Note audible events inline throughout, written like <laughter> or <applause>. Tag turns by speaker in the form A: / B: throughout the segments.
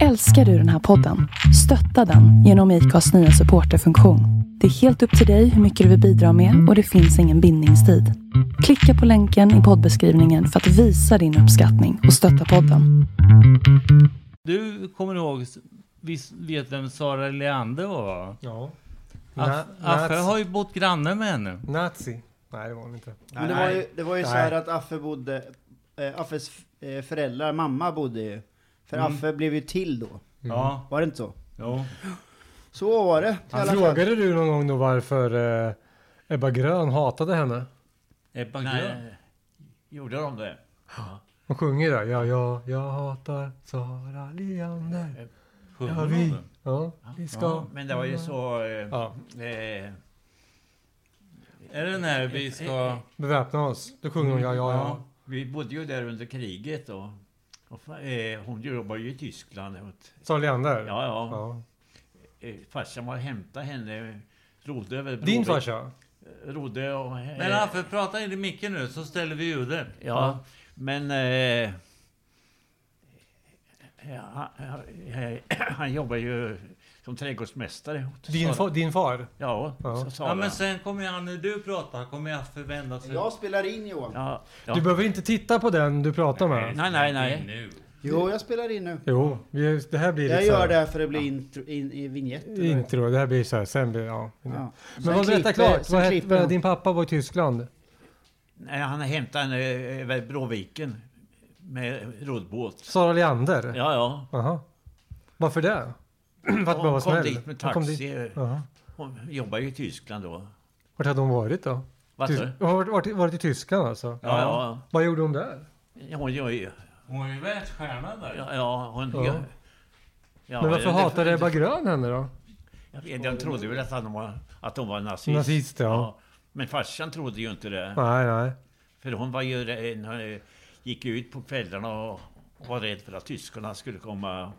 A: Älskar du den här podden? Stötta den genom IKAs nya supporterfunktion. Det är helt upp till dig hur mycket du vill bidra med och det finns ingen bindningstid. Klicka på länken i poddbeskrivningen för att visa din uppskattning och stötta podden.
B: Du kommer ihåg, visst vet vem Sara Leander var? va?
C: Ja.
B: Aff- Affe har ju bott granne med henne.
C: Nazi. Nej, det var hon inte.
D: Men det var ju, det var ju så här
C: Nej.
D: att Affe bodde, eh, Affes eh, föräldrar, mamma bodde ju. För
C: Mm.
D: Affe blev ju till då.
B: Ja,
D: Var det inte så?
B: jo.
D: Så var det. i alla fall.
C: Frågade du någon gång då varför eh, Ebba Grön hatade henne?
B: Ebba Grön.
E: Nej, gjorde de det?
C: Hon sjunger där. Ja, ja, jag hatar Sara Leander.
B: Sjunger
C: Ja,
B: hon
C: vi,
B: den?
C: ja, vi ska...
E: Ja, men det var ju så... Eh,
C: Ja,
E: eh,
B: Är det den här eh, vi ska...
C: beväpna oss. Då sjunger hon ja, ja, ja.
E: vi bodde ju där under kriget och, och fa- eh, hon jobbade ju i Tyskland. åt-
C: Sara Leander.
E: Ja, ja.
C: ja.
E: Eh, farsan var och hämtade henne. Rodde över
C: Din
E: Bråvik-
C: farsa?
E: Rodde och... eh,
B: Men Affe, prata in i micken nu så ställer vi ljudet.
E: Ja, men... Eh, ja, han, eh, <clears throat> han jobbar ju som trädgårdsmästare. åt
C: Din,
E: Sara.
C: fa, din far?
E: Ja,
C: Ja.
E: ja.
B: Ja, men sen kommer han, när du pratar, kommer Affe vända sig.
D: Jag spelar in Johan.
E: ja, ja.
C: Du behöver inte titta på den du pratar med.
E: Nej, nej, nej.
B: Nu.
D: Jo, jag spelar in nu.
C: Jo, vi, det här blir
D: Jag
C: lite så
D: gör
C: här
D: det här för att bli intro, in, i vignett. eller?
C: intro. Det här blir så här, sen blir ja.
D: Ja.
C: Men
D: Sen
C: vad berätta
D: klipper-
C: klart.
D: sen
C: Vad hette,
D: klipper jag.
C: din pappa var i Tyskland.
E: Nej, han hämtade henne eh, över Bråviken med roddbåt.
C: Sara Leander?
E: Ja, ja.
C: Aha. Varför
E: <clears throat>
C: det? För att bara vara
E: Hon kom
C: snäll?
E: dit med
C: Hon kom dit.
E: taxi.
C: Aha.
E: Hon jobbar ju i Tyskland då.
C: Vart hade hon varit då?
E: Vad
C: Tys-
E: sa du?
C: Hon har varit, varit, varit i Tyskland alltså?
E: Ja,
C: Vad gjorde hon där?
E: ja. Hon gör ju...
B: Hon är ju världsstjärna där.
E: Ja, ja, hon...
C: Ja.
E: Ja,
C: Men varför
E: det-
C: hatade Ebba Grön henne då?
E: Jag vet, de trodde väl att, han var, att hon var nazist.
C: Nazist, ja.
E: Men farsan trodde ju inte det.
C: Nej, nej.
E: För hon var ju, en- eh, gick ju ut på kvällarna och var rädd för att tyskarna skulle komma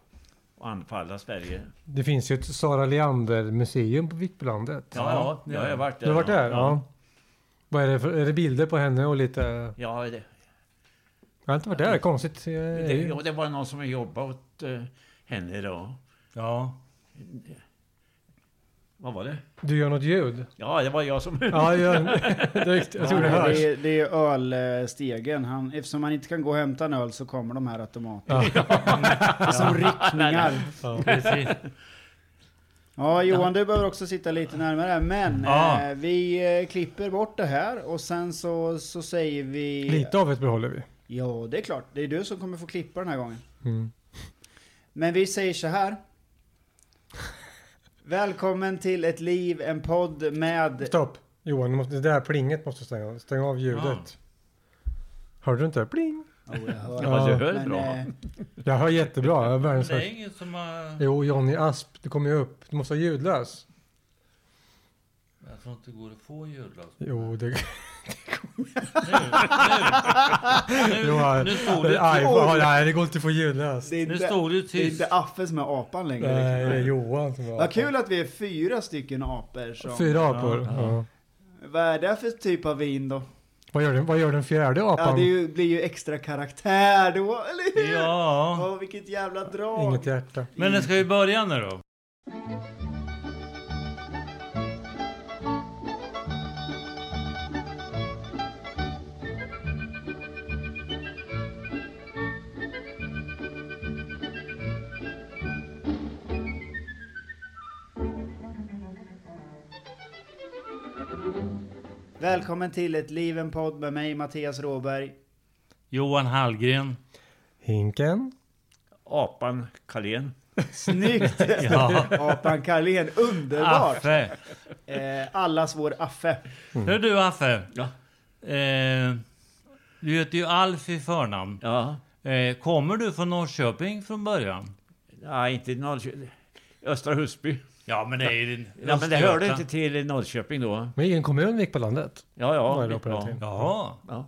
E: och anfalla Sverige.
C: Det finns ju ett Sara Leander-museum på Vikbolandet.
E: Ja, ja, ja jag har varit där.
C: Du har varit där? Ja.
E: Ja,
C: Vad är det för, är det bilder på henne och lite...
E: ja det,
C: Jag har inte varit där, konstigt. eh,
E: det, ja, det var någon som jobbade åt eh, henne då.
B: Ja.
E: Vad var det?
C: Du gör något ljud?
E: Ja, det var jag som...
C: Ja, jag, direkt, jag tror <laughs> det
D: Ja,
C: hörs.
D: det, är, det är ölstegen. Han, eftersom han inte kan gå och hämta en öl så kommer de här automaterna. Som ryckningar.
C: Ja,
B: precis.
D: Ja, Johan, du behöver också sitta lite närmare. här, Men
B: Ja.
D: eh, vi eh, klipper bort det här och sen så, så säger vi...
C: Lite av ett behåller vi.
D: Ja, det är klart. Det är du som kommer få klippa den här gången.
C: Mm.
D: Men vi säger så här. Välkommen till ett liv, en podd med...
C: Stopp! Johan, du måste, det där plinget måste stänga av. Stäng av ljudet. Hörde du inte? Pling!
D: Oh, jag hör.
E: Ja, du
C: Ja.
E: höll
D: Men,
E: bra.
D: eh,
C: Jag hör jättebra. Jag är världens
B: Det är
C: högst.
B: ingen som har...
C: Jo, Johnny Asp, du kommer ju upp. Du måste ha ljudlös.
B: Jag tror inte det går att få alltså. ljudlöst.
C: Jo, det...
B: Nu,
C: <laughs> Johan,
B: nu, stod
C: Nej,
B: det,
C: fan, nej, det går inte att få ljudlös.
D: det, är
B: nu
D: inte,
B: stod det
D: det är
B: tyst.
D: inte Affe som är apan längre.
C: Nej, det är
D: liksom.
C: Johan som
D: Vad kul att vi är fyra stycken apor som...
C: Fyra apor.
B: Ja,
C: Ja,
B: ja.
D: Vad är det för typ av vin då?
C: Vad, gör den, vad gör den fjärde apan?
D: Ja, det är ju, blir ju extra karaktär då, eller hur?
B: Ja.
D: Åh, vilket jävla drag!
C: Inget hjärta.
B: Men den ska ju börja nu då.
D: Välkommen till ett liv, en podd med mig,
B: <laughs>
D: Mattias Råberg.
B: Johan Hallgren.
C: Hinken.
E: Apan Carlén.
D: Snyggt!
B: Ja.
D: Apan Carlén, underbart!
B: Affe.
D: Eh, allas vår Affe.
B: Hör du Affe.
E: Ja.
B: Eh, du heter ju Alf i förnamn.
E: Ja.
B: Eh, kommer du från Norrköping från början?
E: Nej, inte Norrköping. Östra Husby.
B: Ja men det är ju...
E: Ja, men det hörde inte till Norrköping då.
C: Med egen kommun gick på landet.
E: Ja,
C: Vad
E: ja.
C: är det på den
E: ja,
C: tiden?
B: Jaha.
E: ja.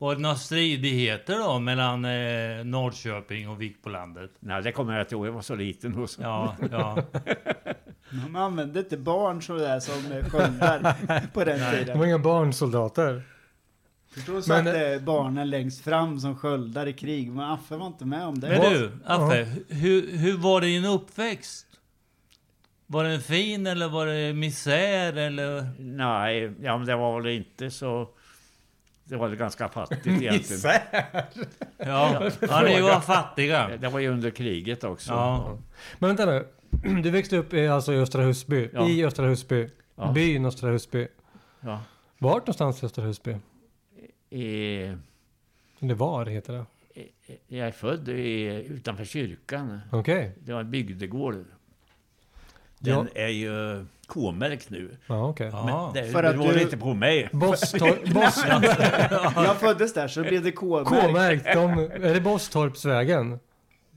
B: Var det några stridigheter då mellan eh, Norrköping och Vikbolandet?
E: Nej, det kommer jag inte ihåg. Jag var så liten då. så.
B: Ja, ja.
D: Man använde inte barn sådär som eh, sköldar på den
C: Det var
D: tiden.
C: inga barnsoldater.
D: Förstår du
C: Men-
D: att det är barnen längst fram som sköldar i krig, men Affe var inte med om det.
B: Men du, Affe, hur, hur var din uppväxt? Var den fin eller var det misär eller?
E: Nej, ja, men det var väl inte så... Det var väl ganska fattigt egentligen.
B: Ja, ja ni var fattiga.
E: Det var ju under kriget också.
B: Ja.
C: Men vänta nu. <clears throat> Du växte upp i, alltså, i Östra Husby.
E: Ja.
C: I Östra Husby.
E: Ja.
C: Byn Östra Husby.
E: Ja.
C: Vart någonstans i Östra Husby?
E: Eh,
C: Det var heter det.
E: jag är född i, utanför kyrkan.
C: Okej.
E: Det var en bygdegård. Den
C: Ja.
E: är ju eh, K-märkt nu.
C: Ja, okej.
B: Ja.
E: Det
D: För att
E: beror
D: du-
E: inte på mig. <laughs>
C: Bosstorp, Boss,
D: Jag föddes där så det blev det K-märkt.
C: K-märkt. De, är det Bosstorpsvägen?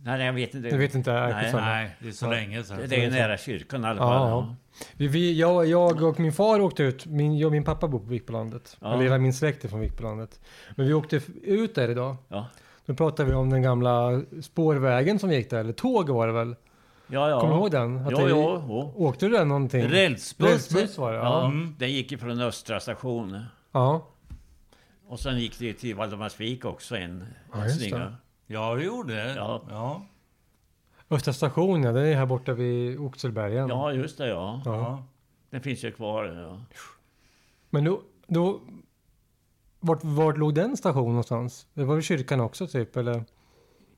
E: Nej, jag vet inte.
C: Jag vet inte. Nej,
E: Nej,
C: skitsamma.
B: Nej, det är så länge sedan.
E: Det är ju nära kyrkan i alla fall.
C: Ja. Vi, vi, jag, jag och min far åkte ut. Min, jag och min pappa bor på Vikbolandet.
E: Ja.
C: Eller hela min släkt är från Vikbolandet. Men vi åkte f- ut där idag.
E: Ja.
C: Då pratade vi om den gamla spårvägen som gick där. Eller tåg var det väl?
E: Ja, ja.
C: Kommer du ihåg den? Att
E: Ja,
C: det-
E: ja. ja.
C: Åkte du där någonting?
B: Rälsbuss.
C: Rälsbuss var det.
E: ja.
C: Ja.
E: Den gick ifrån Östra station.
C: ja.
E: Och sen gick det till Valdemarsvik också en,
C: Ja,
E: en
C: just
E: slinga.
B: Ja, det gjorde det.
E: Ja.
B: Ja.
C: Östra stationen, ja, den är här borta vid Oxelbergen.
E: Ja, just det ja.
B: Ja.
E: Den finns ju kvar. Ja.
C: Men då... då vart, vart låg den stationen någonstans? Det var väl kyrkan också typ, eller?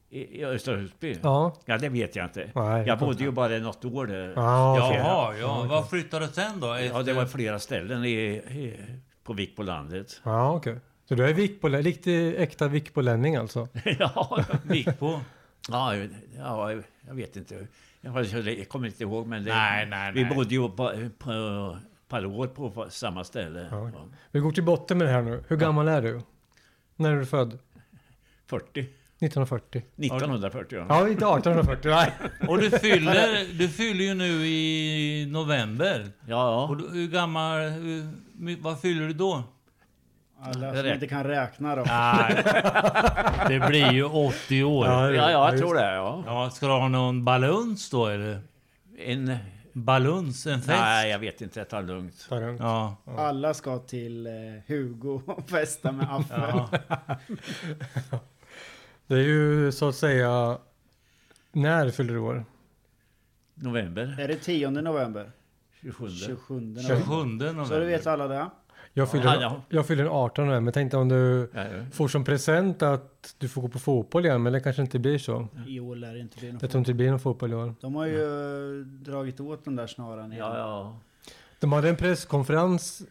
E: I, i Östra Husby? Ja.
C: Ja.
E: det vet jag inte.
C: Nej,
E: jag bodde ju bara något år där.
C: Ja, okej.
B: Jaha, ja. Vad flyttade du sen då?
E: Ja, det var flera ställen i, i, på Vik på landet.
C: Ja, okej. Så du är Vikbolä- riktig äkta Vikbolänning alltså?
E: <laughs> ja, Vik.
B: på?
E: Ja, ja, jag vet inte. Jag, har- jag kommer inte ihåg, men det,
B: Nej, nej,
E: vi
B: nej.
E: bodde ju på, på par år på samma ställe.
C: Ja.
E: Ja.
C: Vi går till botten med det här nu. Hur gammal är du? När är du född?
E: 40.
C: 1940?
E: 1940, ja.
C: Ja, inte 1840. Nej.
B: Och du fyller, du fyller ju nu i november.
E: Ja,
B: Och du, hur gammal, hur, my- vad fyller du då?
D: Alla som inte kan räkna då.
B: Nej, <laughs> det blir ju 80 år. Ja.
E: ja, ja jag tror det. Ja.
B: ska du ha någon baluns då eller?
E: En,
B: Baluns, en fest?
E: nej, jag vet inte. Jag tar lugnt.
C: det.
B: Ja.
D: Alla ska till eh, Hugo och festa med Affe.
B: Ja.
C: Det är ju så att säga... När fyller du år?
E: November
D: Är det 10 november?
E: 27.
D: 27 november.
B: 27
D: Så du
B: november.
D: vet alla det?
C: Jag fyller,
E: Ja, ja.
C: jag fyller 18 nu, men tänkte om du
E: Ja, ja.
C: får som present att du får gå på fotboll igen, men det kanske inte blir så.
D: I år lär det inte bli
C: Jag
D: något.
C: tror inte det blir någon fotboll i år.
D: De har ju eh, dragit åt den där snaran igen.
E: Ja, ja.
C: De hade en presskonferens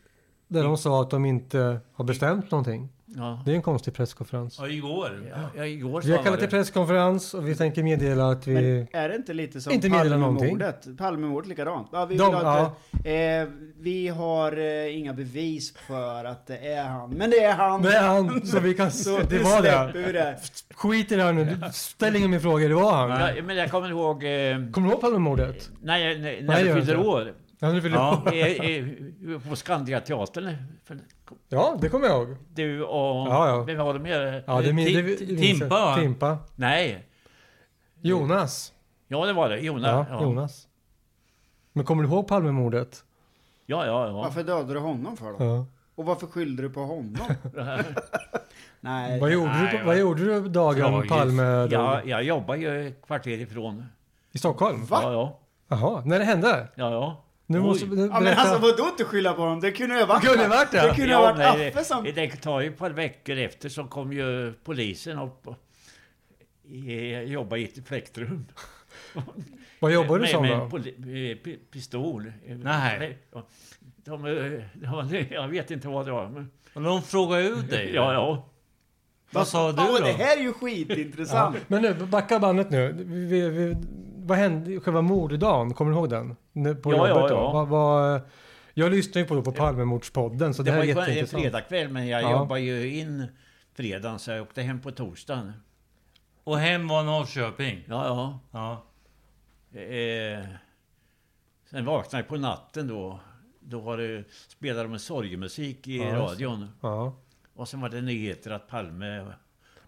C: där de sa att de inte har bestämt någonting.
E: ja.
C: Det är en konstig presskonferens.
B: Ja, igår.
E: ja, ja igår
C: Vi har
E: sa
C: kallat till
E: det.
C: presskonferens och vi tänker meddela att vi...
D: Men är det inte lite som
C: Inte meddela någonting.
D: Palmemordet? Palmemordet likadant. Ja, vi, vill
C: De-
D: ha ett, eh, vi har eh, inga bevis för att det är han. Men det är han!
C: Det är han, så vi kan...
D: Så
C: det
D: nu
C: var
D: släpper
C: det.
D: vi det.
C: Skit i det här nu. Du- Ställ ingen mer frågor, det var han.
E: Ja, men jag kommer ihåg... Eh,
C: Kommer du ihåg Palmemordet?
E: nej, nej,
C: Nej, gör
E: när jag
C: jag
E: fyllde
C: inte.
E: år.
C: Ja, nu vill
B: Ja.
C: ja.
E: eh, eh, På Skandiateatern. För-
C: ja, det kommer jag ihåg.
E: Du och...
C: Ja, ja.
E: Vem var det mer?
C: Ja, det, min-
B: Ti-
C: det, det minns jag.
B: Timpa, va?
C: Timpa.
E: Nej.
C: Jonas.
E: Ja, det var det. Jonas.
C: Ja,
E: Ja, ja.
C: Jonas. Men kommer du ihåg Palmemordet?
E: ja, ja,
D: Varför dödade du honom för då?
C: Ja.
D: Och varför skyllde du på
E: <laughs>
D: honom? Nej,
C: Vad gjorde,
B: nej,
C: du, på-
B: vad-
C: vad gjorde du dagen
B: Tragiskt.
C: Palme
E: ja.
C: dog?
E: Jag, jag jobbar ju ett kvarter ifrån.
C: I Stockholm?
D: Va?
E: Ja, ja.
C: Jaha, när det hände?
E: ja, ja.
C: Nu
E: Oj.
C: måste du
D: Ja,
C: berätta.
D: men alltså vadå inte skylla på honom? Det kunde ju ha varit
C: Det kunde ha varit det.
D: Det kunde
E: ja,
D: ha varit
E: nej,
D: Affe som...
E: Det tar ju ett par veckor efter så kom ju polisen upp och eh, jobbade i ett fläktrum.
C: Vad jobbar du
E: med,
C: som
E: med
C: då?
E: poli- eh, pi- pistol.
B: Nej.
E: Ja. De, eh, de, jag vet inte vad det var. Men,
B: Och de frågade ut dig.
E: ja, ja.
B: Vad sa du
D: Fan,
B: då?
D: det här är ju skitintressant.
C: Men nu, backa bandet nu. Vi, vi, vi, vad hände själva morddagen? Kommer du ihåg den? Nu På
E: Ja, ja,
C: jobbet då?
E: ja.
C: Vad, vad, jag lyssnar ju på, då på Palmemordspodden, så det,
E: Det,
C: här är
E: var ju en
C: jätteintressant.
E: fredagkväll men jag
C: Ja.
E: jobbade ju in fredagen så jag åkte hem på torsdagen.
B: Och hem var Norrköping.
E: Ja, ja.
B: Ja.
E: Eh, sen vaknade jag på natten då. Då var det, spelade de sorgemusik i
C: just det.
E: radion.
C: Ja.
E: Och sen var det nyheter att Palme... har
C: Men,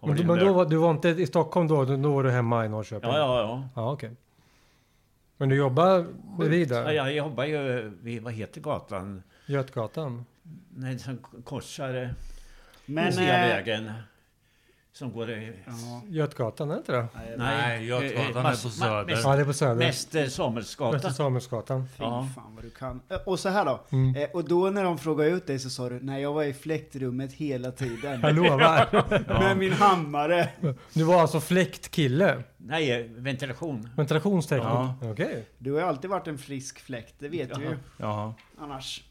C: du-
E: varit
C: men då
E: mörd.
C: var, du var inte i Stockholm då? Då var du hemma i Norrköping?
E: Ja, ja, ja.
C: ja okej. Men du jobbar bredvid
E: ja
C: där?
E: jag jobbar ju vid, vad heter gatan?
C: Götgatan?
E: Nej, som korsar... eh, Men,
D: Men... Eh,
E: Luciavägen. Som går... eh,
D: ja.
C: Götgatan, är det inte det?
B: Nej, jag tror
E: eh,
B: att han
E: Mas-
B: är på
E: Ma-
B: Söder.
E: Mäster-
C: Ja, det är på Söder.
E: Mäster Samuelsgatan.
C: Västra Samuelsgatan.
D: Fy
E: Ja.
D: fan vad du kan. Eh, Och så här då.
C: Mm.
D: Eh, Och då när de frågade ut dig så sa du, nej jag var i fläktrummet
C: <laughs>
D: hela tiden. <laughs>
C: Jag lovar.
D: Med min hammare.
C: Du var alltså fläktkille?
E: Nej, eh, ventilation.
C: Ventilationstekniker?
B: Ja.
C: Okej.
D: Du har ju alltid varit en frisk fläkt, det vet vi ju
E: Ja.
B: Ja.
D: annars.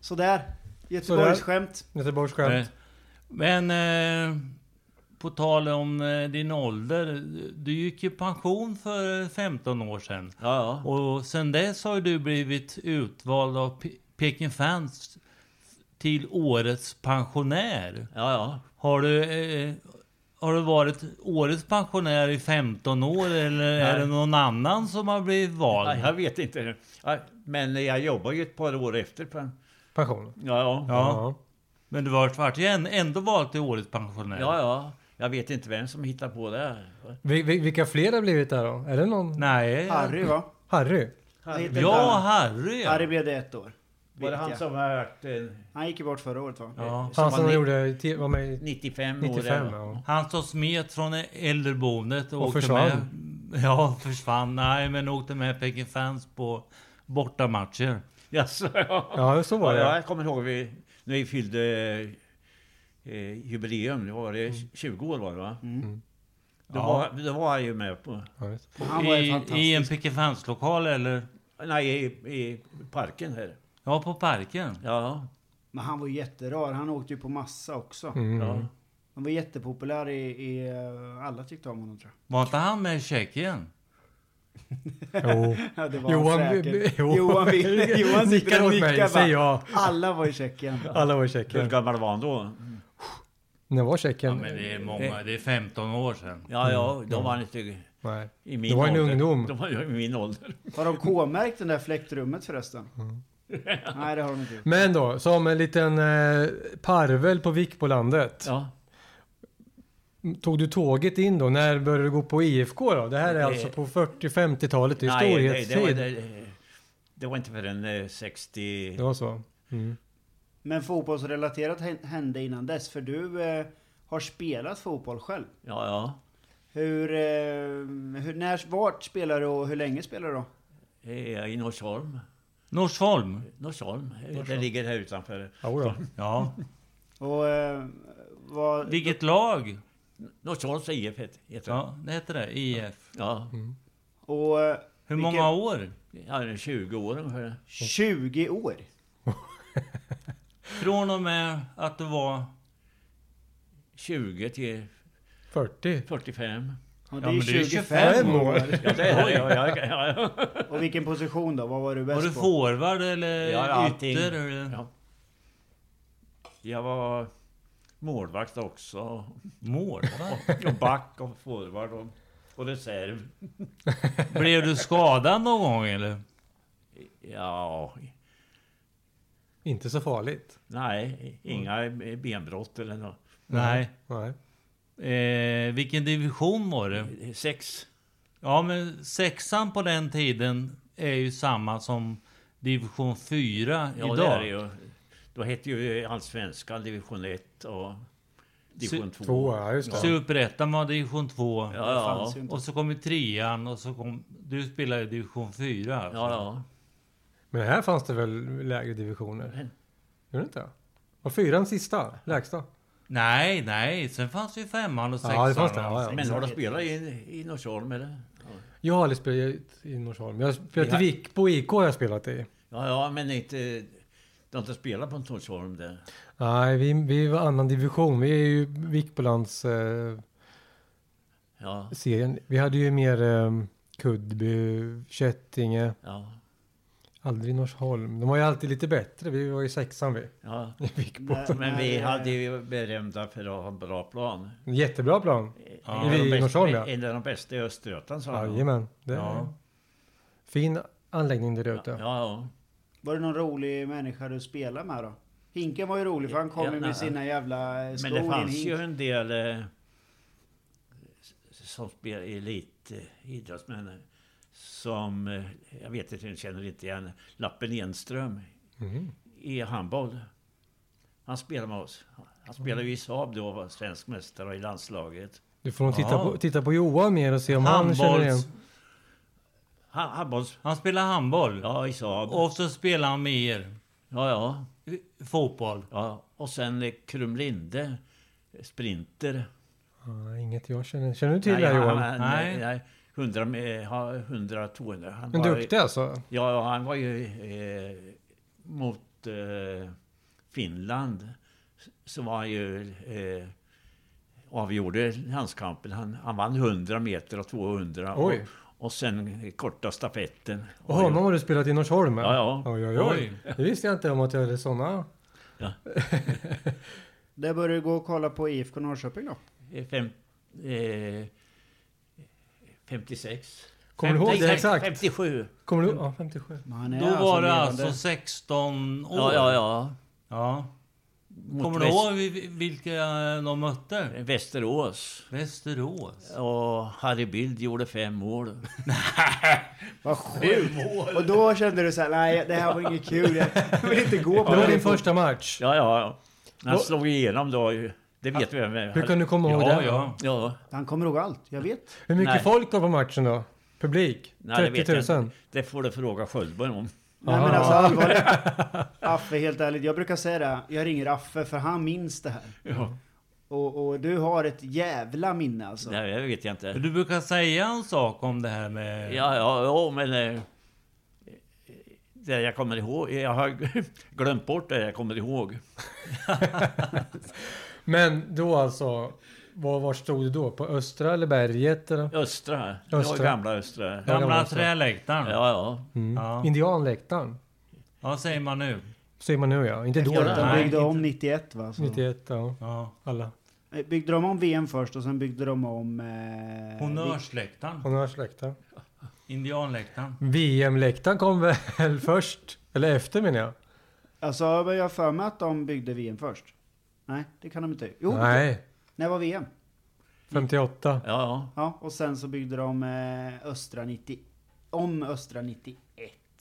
D: Sådär. Göteborgsskämt.
C: Göteborgsskämt.
B: Men men, eh, på tal om eh, din ålder. Du gick ju pension för 15 år sedan.
E: Ja, ja.
B: Och sen dess har ju du blivit utvald av Pe- Peking Fans till årets pensionär.
E: ja, ja.
B: Har du, eh, har du varit årets pensionär i 15 år eller är det någon annan som har blivit
E: Ja,
B: vald?
E: jag vet inte. Ja, Men jag jobbar ju ett par år efter. på-
C: Pension.
E: Ja, ja.
B: Ja, men du har varit ju än- ändå vald till årets pensionär.
E: Ja, ja. Jag vet inte vem som hittar på det här.
C: Vi, vi, vilka fler har blivit där då? Är det någon?
B: Nej.
D: Harry va?
C: Harry?
D: Harry.
E: Harry,
D: Vänta.
B: Ja, Harry.
D: Harry blev det ett år.
E: var det han
D: jag.
E: som har varit... eh,
D: Han gick ju bort förra året va?
B: Ja.
E: Som
C: Han som
E: var ni-
C: gjorde, te- var med i
E: 95,
C: 95
E: år?
C: ja.
B: Han som smet från äldreboendet och,
C: Och
B: åkte
C: försvann.
B: med. Ja, försvann. Nej, men åkte med Peking Fans på bortamatcher.
E: <laughs> Jaså, ja.
C: Ja, så var
E: Ja,
C: det.
E: jag kommer ihåg vi, när vi fyllde eh, jubileum, det var det 20 år var det va?
D: Mm.
E: Då,
B: Ja.
E: var, då var jag ju med på,
C: Ja, just.
D: Han var ju
B: I, I en
D: fantastisk.
B: Peking Fans-lokal eller?
E: nej i, i parken här.
B: Ja, på parken.
E: Ja,
D: Men han var ju jätterar. Han åkte ju på massa också.
C: Mm.
E: ja.
D: Han var jättepopulär i, i... eh, Alla tyckte om honom tror jag.
B: Var inte han med i Tjeckien?
C: Jo.
D: Ja, det
C: <laughs>
D: var
C: Johan,
D: han
C: vi-
D: säkert. Johan, vill- Johan sitter
C: nickar
D: och
C: åt mig,
D: nickar
C: säger
D: va?
C: jag.
D: Alla var i Tjeckien.
C: Alla var i
E: Hur
C: Tjeckien.
E: gammal var han då?
C: När var
B: Ja,
C: Tjeckien?
B: men det är
E: Eh.
B: många. Det är 15 år sedan.
E: Ja, ja, då var han inte i
C: Nej.
E: min
C: Mm. Det var en
E: ålder.
C: ungdom.
E: Då var jag i min ålder.
D: Har de K-märkt den där fläktrummet förresten?
C: Mm.
D: Nej det har de inte gjort.
C: Men då, som en liten eh, parvel på Vick på landet.
E: Ja.
C: Tog du tåget in då? När började du gå på IFK då? Det här är
E: Eh,
C: alltså på 40-50-talet,
E: Nej, det, det, var,
C: historietid. Det,
E: det, det var inte förrän eh, 60...
C: var så. Mm.
D: Men fotbollsrelaterat hän- hände innan dess. För du eh, har spelat fotboll själv.
E: Ja, ja.
D: Hur, eh, hur, när, vart spelar du och hur länge spelar du då?
E: Eh, I Norsholm.
B: Norsholm.
E: Norsholm. Det ligger här utanför.
C: Ja, då.
B: Ja.
D: Och eh, vad...
B: Vilket lag?
E: Norsholms IF heter heter det.
B: Ja, det heter det. IF.
E: Ja.
D: Och eh,
B: Hur
D: Vilken-
B: många år?
E: ja, det är 20 år ungefär.
D: 20 år?
B: Från och med att du var...
E: 20 till
C: 40.
E: 45.
D: Och
B: Ja,
D: det är
B: men det är
D: 25
C: 25
D: år.
E: Ja, det är det. Ja, ja, ja, ja.
D: Och vilken position då? Vad var du
B: Var
D: bäst
B: du
D: på?
B: forward eller
E: Ja, allting.
B: ytter? Eller?
E: Ja. Jag var målvakt också.
B: Målvakt?
E: Och back och forward och, och reserv.
B: Blev du skadad någon gång eller?
E: Ja,
C: Inte så farligt.
E: nej, inga benbrott eller något.
B: Nej.
C: Nej.
B: Eh, vilken division var det?
E: Sex.
B: Ja men sexan på den tiden är ju samma som division 4
E: Ja,
B: idag.
E: det är det ju. Då hette ju Allsvenskan division 1 och division 2.
C: Två, ja just det.
B: Superettan var division 2.
E: Ja,
D: Det fanns
E: ja.
D: ju inte.
B: Och så kom ju trean och så kom... Du spelade i division alltså. 4.
E: ja, ja.
C: Men här fanns det väl lägre divisioner? Gjorde det inte? Var fyran sista? Lägsta?
B: Nej, nej. Sen fanns ju femman och sexan.
C: Ja, det fanns det.
B: och-
C: Ja, ja.
E: Men har du spelat i, i Norsholm eller?
C: Jag har aldrig spelat i Norsholm. Jag har spelat i
E: Ja.
C: Vik, på IK har jag spelat i.
E: Ja, ja, men inte... Du har inte spelat på Norsholm där?
C: Nej, vi, vi var annan division. Vi är ju Vikbolands eh,
E: Ja,
C: serien. Vi hade ju mer eh, Kuddby, Kättinge,
E: ja,
C: aldrig Norsholm. De var ju alltid lite bättre. Vi var ju sexan <laughs> vi.
E: ja.
D: När-
E: Men
D: när,
E: vi
D: eh,
E: hade ju berömda för att ha en bra plan.
C: En jättebra plan.
E: En av
C: Vi
E: de
C: i
E: bästa-
C: Norsholm, ja.
E: En av de bästa i Östergötland sa han.
C: Jajamän. Det är
B: Ja.
C: Fin anläggning där
E: Ja,
C: ute.
E: ja.
D: Var det någon rolig människa du spelade med då? Hinken var ju rolig för han kom
E: Ja,
D: ju med
E: nej.
D: sina jävla eh, skor
E: Men det
D: i en
E: fanns
D: hink.
E: ju en del eh, som spelade elitidrottsmän som, eh, jag vet inte, jag känner inte igen,
C: Mhm.
E: Lappen Enström i handboll. Han spelade med oss. Han spelade ju i Saab då och var svensk mästare i landslaget.
C: Du får nog titta,
B: Ja.
C: på, titta på Johan mer och se om han känner igen.
B: Handbolls...
E: Han, handbolls...
B: Han spelar handboll.
E: Ja, i Saab.
B: Och så spelar han med er.
E: Ja, ja.
B: eh, Fotboll.
E: ja. Och sen eh, Krumlinde, eh, sprinter.
C: Ja, inget jag känner. Känner du till det här,
E: han,
C: Johan?
E: han, nej,
B: Nej.
E: nej. 100, med- ha- 100, 200. Han
C: Men
E: var-
C: duktig alltså?
E: Ja, ja, han var ju eh, mot eh, Finland. Så var han ju eh, avgjorde landskampen. Han, han vann 100 meter och 200. Och,
C: Oj.
E: och sen korta stafetten.
C: Och honom har du spelat i Norsholm? med?
E: Ja, ja.
C: Oj, oj, oj. Det visste jag inte om att jag hade sådana.
D: Där börjar du gå och kolla på IFK Norrköping då.
E: Eh, Fem, eh, 56.
C: Kommer du ihåg det
E: 56,
C: exakt?
E: 57.
C: Kommer du Ja, 57.
D: Men han är
B: Då
D: alltså
B: var du
D: levande.
B: alltså 16 år?
E: Ja, ja, ja.
B: Ja.
E: Mot
B: Kommer du ihåg vi- vilka de mötte?
E: Västerås.
B: Västerås.
E: Och Harry Bild gjorde fem mål.
D: Vad sjukt! Och då kände du så här, nej det här var inget kul, jag vill inte gå på
C: Det var
D: det.
C: din första match.
E: Ja, ja. Han
C: Och-
E: slog igenom då. ju. Det vet vi vem det är.
C: Hur kan du komma ihåg
B: Ja,
C: det?
B: ja.
E: Ja,
D: Han kommer ihåg allt, jag vet.
C: Hur mycket
E: Nej.
C: folk var på matchen då? Publik?
E: nej, det vet
C: 30
E: jag
C: 000?
E: inte. Det får du fråga Sköldberg om.
D: Nej men alltså allvarligt. Affe, helt ärligt, jag brukar säga det, jag ringer Affe för han minns det här.
E: Ja.
D: Och, och du har ett jävla minne alltså.
E: Nej, det vet jag inte.
B: Du brukar säga en sak om det här med...
E: Ja, ja, ja men... eh, Det jag kommer ihåg. Jag har <laughs> glömt bort det jag kommer ihåg.
C: Men då alltså, var, var stod du då? På Östra eller Berget? Eller?
E: Östra. Det var
C: Östra.
E: gamla Östra. Ja,
C: gamla
B: Gamla
C: också.
B: träläktaren. Ja.
E: ja.
C: Mm.
B: Ja.
C: Indianläktaren?
B: Vad säger man nu?
C: Säger man nu ja. Inte då.
D: Efter att
C: då.
D: de
B: Nej,
D: byggde
B: inte.
D: om 91 va? Så.
C: 91, ja.
B: Ja.
C: Alla.
D: Eh, Byggde de om VM först och sen byggde de om... Eh,
B: Honnörsläktaren.
C: Honnörsläktaren.
B: Indianläktaren.
C: VM-läktaren kom väl <laughs> först? Eller efter menar jag?
D: Alltså jag har för mig att de byggde VM först. Nej, det kan de inte. Jo,
C: Nej,
D: när var VM?
C: 58.
E: ja, ja.
D: Ja, och sen så byggde de eh, Östra 90... Om Östra 91.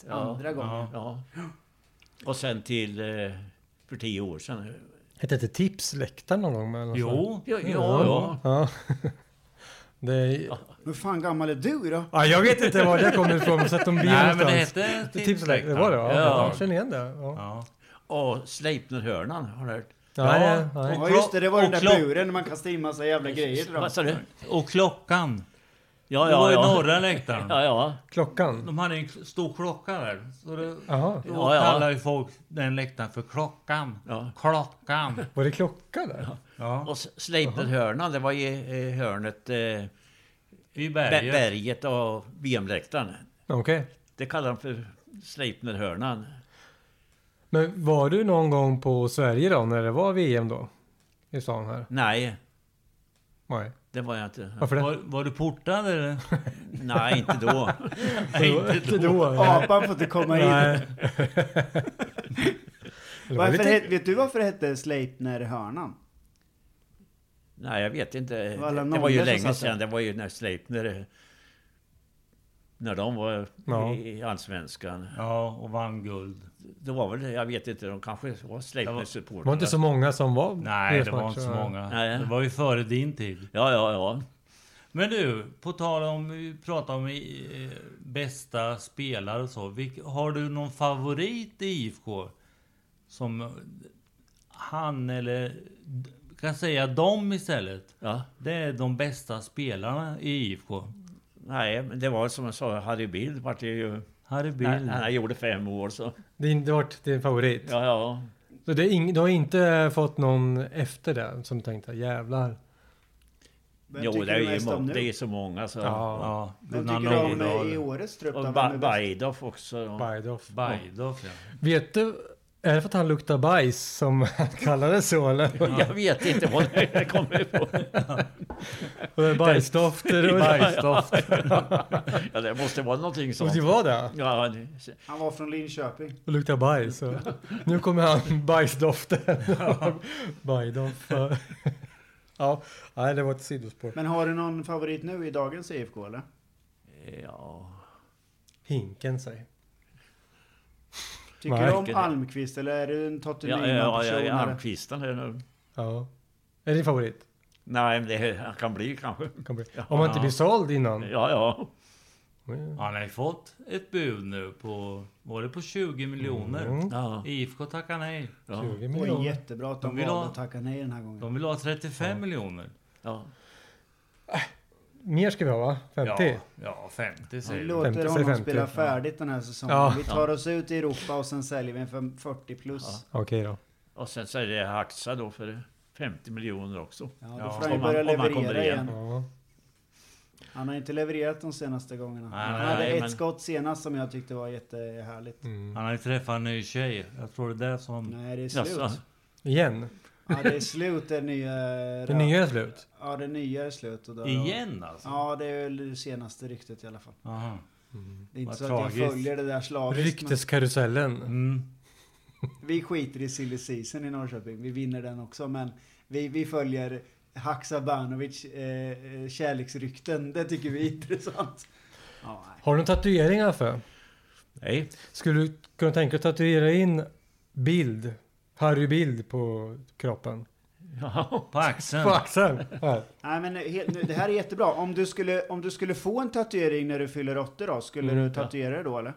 E: Ja,
D: Andra gången.
B: ja.
E: ja. Och sen till... eh, För tio år sedan.
C: Hette inte Tipsläktaren någon gång? Eller
B: Jo.
E: Ja, ja. ja.
C: ja. <laughs> Det är...
D: Hur fan gammal är du då?
C: ja, jag vet inte var det kommer ifrån. Så att de blir
B: Nej, men det
C: någonstans.
B: hette
C: Tipsläktaren. Det var det? Ja,
E: Ja.
C: jag känner igen det. Ja.
B: Ja.
E: Och Sleipnerhörnan, har du hört?
C: Ja,
B: Ja.
C: nej.
D: Ja just det, det var den
B: och
D: där
B: klock-
D: buren när man kastade in massa jävla grejer till dem.
E: Vad sa du?
B: Och klockan.
E: Ja,
B: det var
E: ja,
B: ju
E: ja.
B: norra läktaren.
E: Ja, ja.
C: Klockan?
B: De hade en k- stor klocka där. Så det,
C: Jaha,
B: då
E: Ja, ja.
B: kallar ju folk den läktaren för klockan.
E: Ja.
B: Klockan.
C: var det klocka där?
B: Ja.
E: Och Sleipnerhörnan, det var i eh, hörnet eh,
B: I
E: berget.
B: berget.
E: berget och VM-läktaren.
C: Okej.
E: Det kallar de för Sleipnerhörnan.
C: Men var du någon gång på Sverige då, när det var VM då? I stan här?
E: Nej,
C: Nej.
E: det var jag inte.
C: Varför det?
B: Var, var du portad eller?
E: Nej, inte
C: <laughs>
E: då.
B: Nej, inte då.
D: Apan får inte komma in.
C: Nej. <laughs> Det var
D: Varför
C: lite...
D: het, vet du varför det hette Sleipner-hörnan?
E: Nej, jag vet inte.
D: var alla
E: Det var ju
D: nollor som
E: länge
D: satt
E: sedan. Det var ju när Sleipner... När de var
C: Ja.
E: i Allsvenskan.
B: Ja, och vann guld.
E: Det var väl, jag vet inte, de kanske var
C: Det var
E: Sleipner-supportrar.
C: inte så många som var
B: Nej, det var
C: resmatcher,
B: inte så
C: va?
B: många.
E: Nej.
B: Det var ju före din tid.
E: Ja, ja, ja.
B: Men du, på tal om, vi pratar om eh, bästa spelare och så. Vilk, har du någon favorit i IFK? Som eh, han eller, kan säga dem istället.
E: ja.
B: Det är de bästa spelarna i IFK.
E: Nej, men det var som jag sa, Harry Bild vart ju...
B: Harry
E: När,
B: Bild.
E: när han gjorde fem år så...
C: Det har inte varit din favorit.
E: Ja, ja.
C: Så det är ing... Du har inte fått någon efter det som tänkte jävlar.
D: Vem
E: jo,
D: tycker
E: det är,
D: du
E: ju
D: mest om
E: må-
D: nu?
E: det är så många så...
C: Ja.
B: Ja,
D: Vem
B: Gunnar
D: tycker du om eh, i
B: Nordahl.
D: årets trupp? då?
E: Och
D: Vem
E: ba-
D: är bäst?
E: Bajdorf också. då.
C: Bajdoff.
B: Bajdoff ja.
C: Vet du, är det för att han luktar bajs som han <laughs> kallades så eller?
E: <laughs> Jag vet inte vad det kommer ifrån.
C: Och <laughs> det är Bajsdofter och... <laughs>
B: Bajsdoft.
E: <laughs> Ja, det måste vara någonting
C: Och det
E: sånt.
C: var det?
E: Ja, det-
D: Han var från Linköping.
C: Och luktar bajs. Och nu kommer han <laughs> bajsdoften. Bajdoff. Ja, nej det var ett sidospår.
D: Men har du någon favorit nu i dagens IFK eller?
E: ja.
C: Hinken säger.
D: Tycker
C: Nej.
D: du om Almqvist eller är du en Totte
E: Ja, ja, ja, ja,
D: Nyman-person? eller?
E: Almqvisten här nu.
C: Ja. Är det din favorit?
E: Nej, men det han kan bli kanske.
C: Kan bli. Om man inte
B: Ja.
C: blir såld innan. Mm.
E: Ja, ja.
B: Han har ju fått ett bud nu på, var det på 20 miljoner?
C: Mm.
E: ja.
B: IFK tackar nej.
E: ja.
C: 20
D: Och det är
C: miljoner.
D: jättebra att
B: De
D: de
B: vill
D: valde
B: ha-
D: att tacka nej den här gången.
B: De vill ha 35 miljoner.
E: ja.
C: Mer ska vi ha va? 50?
B: Ja, ja, 50
D: Vi
B: säger vi.
D: låter
C: 50,
D: honom
C: 50.
D: spela färdigt den här säsongen.
C: Ja.
D: Vi tar oss ut i Europa och sen säljer vi en för 40 plus.
C: Okej då.
E: Och sen så är det Haxa då för 50 miljoner också.
D: Ja,
B: Ja.
D: då får han ju
E: Om han-
D: börja
E: om han kommer
D: leverera
E: igen.
D: igen.
C: Ja.
D: Han har inte levererat de senaste gångerna.
B: Nej,
D: han
B: nej,
D: hade
E: nej,
D: ett
E: men-
D: skott senast som jag tyckte var jättehärligt.
C: Mm.
B: Han har ju träffat en ny tjej. Jag tror det är det som...
D: Nej, det är slut.
E: Mm. Jaså?
C: Igen?
D: Ja, det är slut det nya...
C: Det nya är slut?
D: Ja, det nya är slut. Och då...
B: Igen alltså?
D: Ja, det är väl det senaste ryktet i alla fall.
B: Aha.
D: Det är inte
B: Vad
D: så att jag
B: tragiskt.
D: följer det där slaviskt. men
C: Rykteskarusellen.
B: Mm.
D: Vi skiter i silly season i Norrköping. Vi vinner den också, men vi, vi följer Haksabanovic eh, eh, kärleksrykten. Det tycker vi är intressant. Ja, nej.
C: Har du några tatueringar för?
E: Nej.
C: Skulle du kunna tänka dig att tatuera in bild, Harry Bild på kroppen?
E: Ja.
B: På axeln?
C: På axeln? Här.
D: nej, men helt, nu, det här är jättebra. Om du, skulle, om du skulle få en tatuering när du fyller 80 då, skulle
C: Mm,
D: du tatuera dig då eller?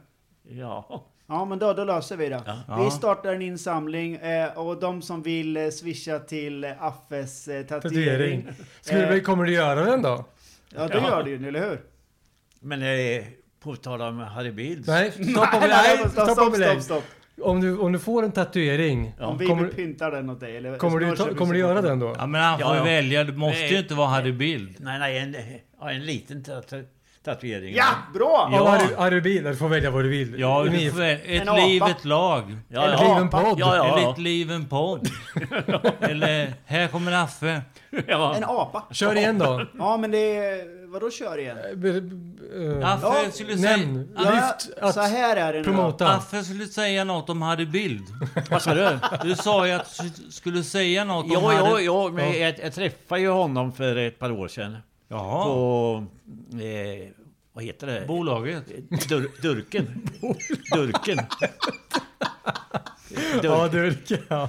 E: ja.
D: Ja, men då, då löser vi det.
B: Ja.
D: Vi startar en insamling eh, och de som vill eh, swisha till eh, Affes eh, tatuering.
C: Tatuering. Skulle du, kommer du göra den då?
D: Ja, det
E: Ja.
D: gör du ju, eller hur?
E: Men eh, på tal om Harry Bild.
C: Nej, stopp och
D: <laughs> nej,
C: belägg!
D: stopp,
C: Stopp och
D: stopp,
C: belägg!
D: stopp, stopp.
C: Om du, om du får en tatuering,
D: Om vi
C: kommer,
D: pyntar den åt dig eller?
C: kommer, du, ta, kommer du göra den då?
B: Ja men han får
E: Ja,
B: ju
E: ja.
B: välja. Det måste ju
E: Nej.
B: inte vara Harry Bild.
E: Nej, nej, en, ja, en liten tatu- tatuering.
D: Ja, bra!
C: Av
B: Ja.
C: Harry, Harry Bild, du får välja vad du vill.
B: Ja,
C: Ni-
B: du får välja. Ett
D: En
B: liv,
D: apa.
B: ett lag.
E: ja,
D: Eller
E: ja.
C: Driven podd.
E: Ja, ja.
B: Eller ett liv, en
E: <laughs>
B: podd. Eller Här kommer Affe.
E: Ja.
D: En apa.
C: Kör igen då.
D: Ja, men det är... Vadå kör igen?
C: B- b- eh,
B: Affe
D: Ja,
B: skulle säga...
C: Nämn,
D: Ja,
C: lyft
D: så
C: att
D: här är det nu.
C: promota.
B: Affe skulle säga något om Harry Bild.
E: Vad sa du?
B: Du sa ju att du skulle säga något om
E: Ja,
B: Harry...
E: ja, ja, men jag, jag träffade ju honom för ett par år sedan.
B: Jaha.
E: På... Eh, vad heter det?
B: Bolaget.
E: Dur, durken. durken.
C: Ja,
E: Durk.
C: Durke. Ja.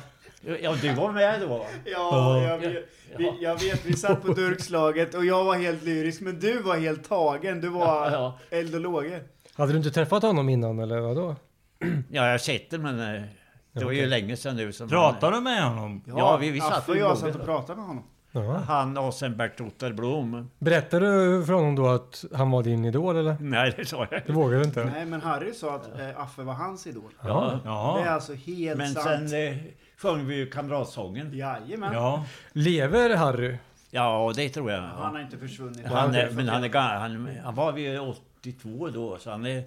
E: Ja, du var med då?
D: Ja, jag vet, vi, jag vet. Vi satt på durkslaget och jag var helt lyrisk, men du var helt tagen. Du var
E: Ja, ja.
D: eld och låge.
C: Hade du inte träffat honom innan eller vadå?
E: Ja, jag har sett det, men eh, det var ju länge sedan nu. Som
B: Pratar du med honom?
E: Ja, vi- vi satt
D: Affe och
E: i
D: jag
E: borden.
D: satt och pratade med honom.
C: Ja.
E: Han, han och sen Bert Otter Blom.
C: Berättade du för honom då att han var din idol eller?
E: Nej, det sa jag
C: Det
E: inte.
C: vågade du inte?
D: Nej, men Harry sa att eh, Affe var hans idol.
C: Ja.
D: Det är
B: Ja.
D: alltså helt
E: Men
D: sant.
E: sen eh, sjöng vi ju kamratsången.
D: Jajamän.
B: Ja.
C: Lever Harry?
E: Ja, det tror jag.
D: Han
E: Ja.
D: har inte försvunnit.
E: Han är, men han, är, ga- han, han var ju 82 då, så han är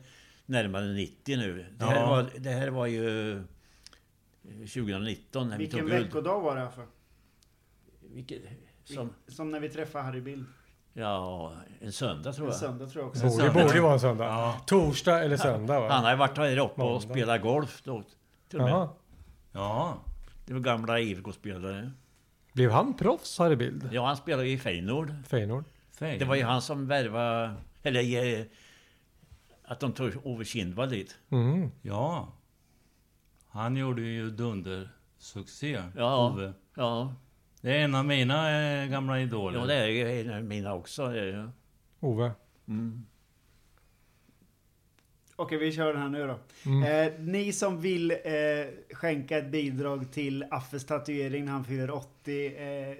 E: närmare 90 nu. Det här,
B: Ja.
E: var, det här var ju eh, 2019 när vi
D: Vilken
E: tog guld.
D: veckodag var det Affe?
E: Vilket, som,
D: Som när vi träffade Harry Bild.
E: ja, en söndag tror
D: En
E: jag.
D: söndag tror jag också.
C: Borde,
B: söndag.
C: borde ju vara en söndag.
B: Ja.
C: Torsdag eller söndag va?
E: Han har ju varit här uppe och
C: Måndag.
E: spelat golf då. Till och med.
C: Jaha.
B: Ja.
E: Det var gamla IFK-spelare.
C: Blev han proffs Harry Bild?
E: Ja, han spelade ju i Feyenoord.
C: Feyenoord?
B: Fej.
E: Det var ju han som värvade... Eller eh, att de tog Ove Kindvall dit.
C: Mm.
B: Ja. Han gjorde ju dundersuccé,
E: Ja.
B: Ove.
E: Ja,
B: Det är en av mina eh, gamla
E: ja
B: idoler.
E: det är ju en av mina också. det är ju.
C: Ove.
E: Mm.
D: Okej, vi kör den här nu då. Eh, ni som vill eh, skänka ett bidrag till Affes tatuering när han fyller 80. Eh,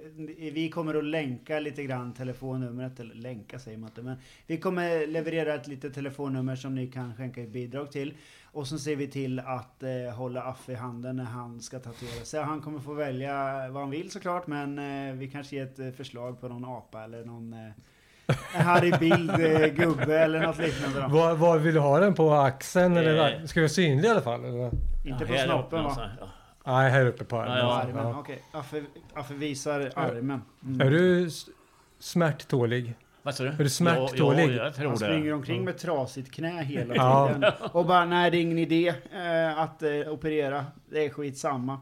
D: vi kommer att länka lite grann telefonnumret, eller länka säger man inte, men vi kommer leverera ett litet telefonnummer som ni kan skänka ett bidrag till. Och så ser vi till att eh, hålla Affe i handen när han ska tatuera sig. Han kommer få välja vad han vill såklart, men eh, vi kanske ger ett eh, förslag på någon apa eller någon eh, Harry Bild-gubbe eller något liknande. Då.
C: Var, var vill du ha den? På axeln eller?
E: Eh.
C: Ska vi vara synlig i alla fall? Eller?
D: Inte på
E: Ja, här uppe
D: snoppen va?
E: någonstans, ja.
C: Nej, här uppe på
E: Ja,
D: Ja,
C: armen.
D: armen. Okej. Affe, Affe visar armen. Mm.
C: Är du s- smärttålig?
E: Vad sa du?
C: du smärttålig?
E: Ja, ja, jag tror
D: Han springer
E: det.
D: omkring med trasigt knä hela
C: Ja.
D: tiden. Och bara, nej det är ingen idé eh, att eh, operera. Det är skitsamma.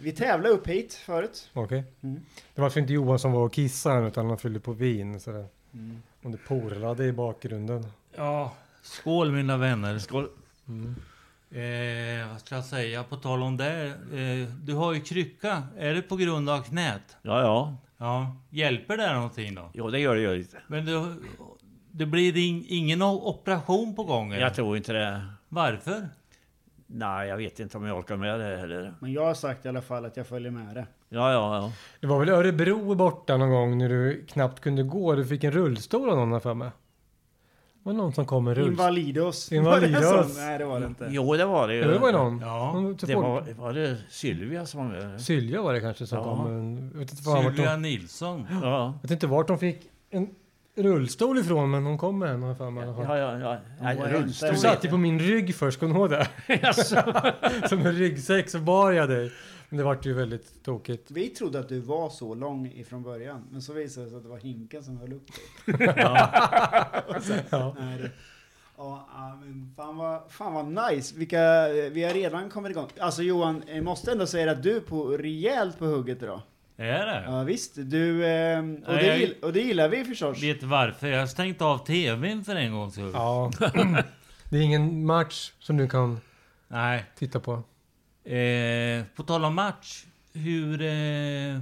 D: Vi tävlade upp hit förut.
C: Okej.
D: Mm.
C: Det var alltså inte Johan som var och kissade utan han fyllde på vin. Sådär. Och det porlade i bakgrunden.
B: Ja. Skål mina vänner.
E: Skål.
B: Eh, vad ska jag säga? På tal om det. Eh, du har ju krycka. Är det på grund av knät?
E: Ja, ja.
B: Ja. Hjälper det någonting då?
E: Jo, det gör det ju inte.
B: Men du, det blir in, ingen o- operation på gång? eller?
E: Jag tror inte det.
B: Varför?
E: Nej, jag vet inte om jag orkar med det heller.
D: Men jag har sagt i alla fall att jag följer med det.
E: Ja, ja, ja.
C: Det var väl Örebro borta någon gång när du knappt kunde gå. Du fick en rullstol av någon här för mig. Det var någon som kom med rullstol.
D: Invalidos.
C: Invalidos.
D: Var det så? <laughs> Nej, det var det inte.
E: Jo, det var det ju.
C: Ja, det var ju någon.
B: Ja,
C: Hon- så
E: Det
C: folk-
E: var, var det Sylvia som var med?
C: Sylvia var det kanske som
E: Ja.
C: kom. men Jag vet inte, fan vart hon,
B: Sylvia
C: jag
B: Nilsson?
E: Ja,
C: vet inte vart hon fick en rullstol ifrån men hon kom med en har jag för mig. i alla fall.
E: ja, ja. ja. Nej,
D: var
E: rullstol.
C: Du satt ju på min rygg först, kommer du ihåg
E: <laughs>
C: det? <laughs> Som en ryggsäck så bar jag dig. Men det vart ju väldigt tokigt.
D: Vi trodde att du var så lång ifrån början, men så visade det sig att det var hinken som höll upp dig.
C: <laughs> Ja.
D: Nej, det- Ja, ja, men fan vad, fan vad nice. Vilka, vi har redan kommit igång. Alltså Johan, jag måste ändå säga att du är på rejält på hugget idag.
B: Är det?
D: Ja visst, du... ehm, Och
B: Nej,
D: det,
B: jag-
D: gill- och det gillar vi förstås.
B: Vet du varför? Jag har stängt av tvn för en gångs skull.
C: ja. <clears throat> Det är ingen match som du kan
B: Nej.
C: titta på. <clears throat>
B: Eh, på tal om match. Hur... Eh,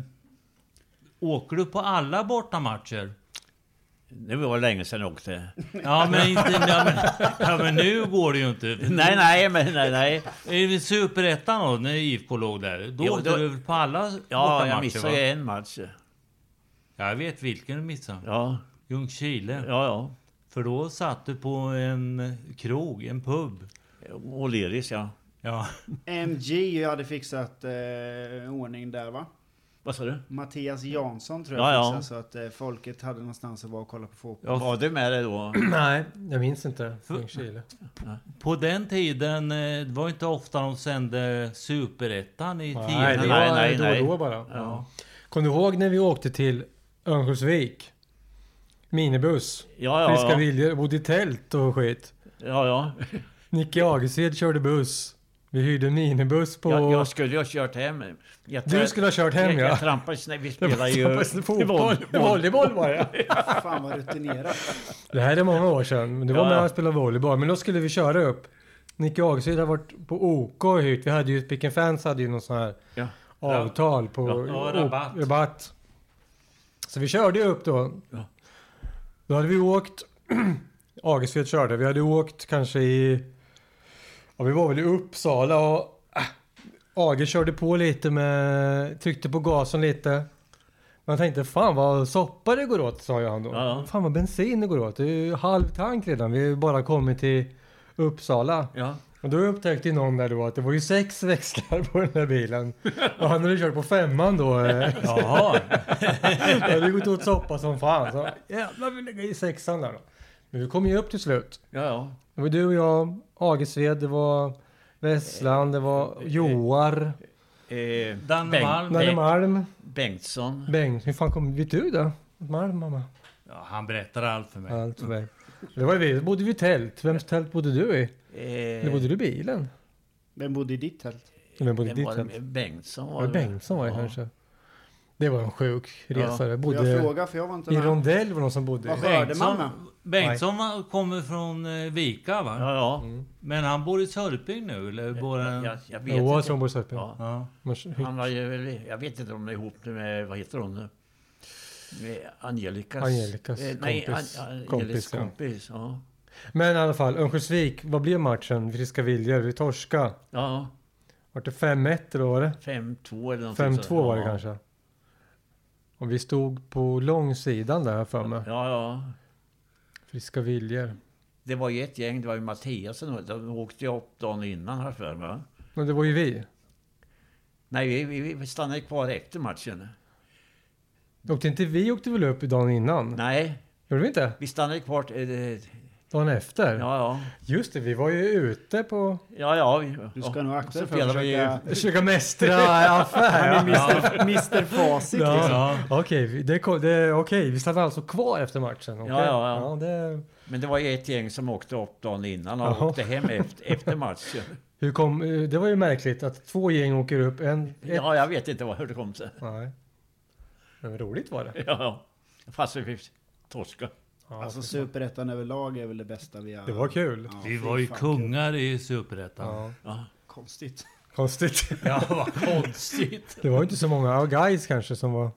B: åker du på alla bortamatcher?
E: Det var länge sedan jag åkte. <laughs>
B: Ja men inte... Ja men, ja, men nu går det ju inte.
E: Nej, nej, men nej, nej.
B: Är det Superettan då, när IFK låg där? Då
E: Jo,
B: åkte
E: då-
B: du väl på alla
E: Ja, jag
B: bortamatcher,
E: missade
B: va?
E: en match. Ja,
B: Jag vet vilken du missade.
E: ja,
B: Ljungskile.
E: ja.
B: För då satt du på en krog, en pub.
E: O'Learys, ja.
B: Ja.
D: MG hade fixat eh, ordning där va?
E: Vad sa du?
D: Mattias Jansson tror jag
E: Ja, ja.
D: fixade så att eh, folket hade någonstans att vara och kolla på fotboll.
E: Var du med det då?
C: Nej, jag minns inte. Ljungskile.
B: På den tiden, eh, det var inte ofta de sände Superettan i tv.
C: Nej, det var
E: nej, nej,
C: då och
E: nej.
C: då bara.
E: Ja.
C: Kom du ihåg när vi åkte till Örnsköldsvik? Minibuss.
E: Ja, ja,
C: Friska
E: ja.
C: viljor. Bodde i tält och skit.
E: Ja, ja.
C: Nicke Agershed körde buss. Vi hyrde minibuss på...
E: Jag, jag skulle ju ha kört hem. Jag
C: Du skulle ha kört hem,
E: Jag,
C: ja.
E: jag trampade snett. Vi
C: Det
E: spelade
C: var
E: ju...
C: fotboll. <laughs> Volleyboll var det.
D: Fan vad rutinerat.
C: Det här är många år sedan. Men det var
E: Ja,
C: när
E: ja.
C: han spelade volleyboll. Men då skulle vi köra upp. Nicke Agershed hade varit på OK och hyrt. Vi hade ju... Pick Fans hade ju någon sån här
E: Ja.
C: avtal på...
B: Ja, ja, rabatt.
C: rabatt. Så vi körde ju upp då.
E: Ja.
C: Då hade vi åkt... <clears throat> Agershed körde. Vi hade åkt kanske i... Ja, vi var väl i Uppsala och... ah, Age körde på lite med... Tryckte på gasen lite. Man tänkte fan vad soppa det går åt sa ju han då.
E: Ja.
C: Fan vad bensin det går åt. Det är ju halv tank redan. Vi har ju bara kommit till Uppsala.
E: Ja.
C: Och då upptäckte ju någon där då att det var ju sex växlar på den där bilen. Och han hade kört på femman då. eh.
B: Jaha.
C: <laughs> Det hade gått åt soppa som fan. Så jävlar vi lägger i sexan där då. Men vi kom ju upp till slut.
E: Ja, ja.
C: Det var du och jag, Agesved, det var Westland, det var Joar,
E: Eh,
B: Danne
E: Bengt-
B: Malm.
C: Nanne
E: Bengt-
C: Malm,
E: Bengtsson. Eh,
C: Bengt. Hur fan kom... Vet du det? Malm, mamma.
B: Ja, han berättar allt för mig.
C: Allt för mig. Det var ju vi. Då bodde vi i tält. Vems tält bodde du i? Eller
E: Eh,
C: bodde du i bilen?
D: Vem bodde i ditt tält?
C: Eller vem bodde i
E: vem
C: ditt
E: var
C: tält?
E: det? Bengtsson
C: Var
E: var
C: det Bengtsson var det
E: Ja.
C: kanske? Det var en sjuk resa.
E: Ja.
C: Jag
D: Får Jag
C: bodde
D: frågar för jag var inte
C: i
D: med.
C: rondell var det någon som bodde
D: Vad
C: i.
D: hörde man då?
B: Bengtsson var- kommer från eh, Vika va?
E: Ja, ja.
C: Mm.
B: Men han bor i Sörping nu eller bor han...
E: Jag, jag vet
C: Jag var
E: inte.
C: från Borgshöping.
E: Ja.
B: Ja.
E: Han var ju, väl- jag vet inte om de är ihop nu med, vad heter hon nu? Med Angelicas... Eh,
C: Angelicas
E: nej,
C: kompis.
E: An- Angelicas
C: Kompis,
E: kompis.
C: ja.
E: ja.
C: Men i alla fall, Örnsköldsvik. Vad blev matchen? Friska viljor. Vi torska.
E: Ja,
C: Vart det 5-1 eller vad var det?
E: 5-2 eller någonting
C: 5-2 var det
E: ja.
C: kanske. Och vi stod på långsidan där här för mig.
E: Ja, ja.
C: Friska viljor.
E: Det var ju ett gäng, det var ju Mattias och några. De åkte ju upp dagen innan här för mig. va?
C: Men det var ju vi.
E: Nej, vi, vi, vi stannade kvar efter matchen.
C: Åkte inte vi åkte väl upp dagen innan?
E: Nej,
C: Gjorde vi inte?
E: vi stannade kvar... eh, eh,
C: Dagen efter?
E: Ja, ja.
C: Just det, vi var ju ute på...
E: Ja, ja. vi-
D: Du
E: ja.
D: ska nog akta dig
E: Så
D: för att
E: spelar vi
D: försöka...
E: ju...
C: Försöka mästra
E: <laughs>
D: <laughs>
C: affär. ja.
D: Mr Facit
C: Ja.
D: liksom.
B: Ja.
C: Okej, vi- det, ko- det, okej, vi stannade alltså kvar efter matchen. okej.
E: Ja, ja, ja.
C: det,
E: Men det var ju ett gäng som åkte upp dagen innan och
C: Jaha.
E: åkte hem efter, efter matchen.
D: <laughs>
C: hur kom, eh, det var ju märkligt att två gäng åker upp. En, ett,
E: Ja, jag vet inte vad, hur det kom sig. <laughs>
C: Nej. Men roligt var det.
E: Ja, fast vi fick torska.
D: alltså superettan överlag är väl det bästa vi har.
C: Det var kul.
D: Ja,
B: Vi
D: fy
B: var ju
D: fan,
B: kungar i Superettan.
C: Ja.
E: Ja.
D: Konstigt.
C: Konstigt.
B: Ja, vad konstigt.
C: Det var ju inte så många. Ja, guys kanske som var...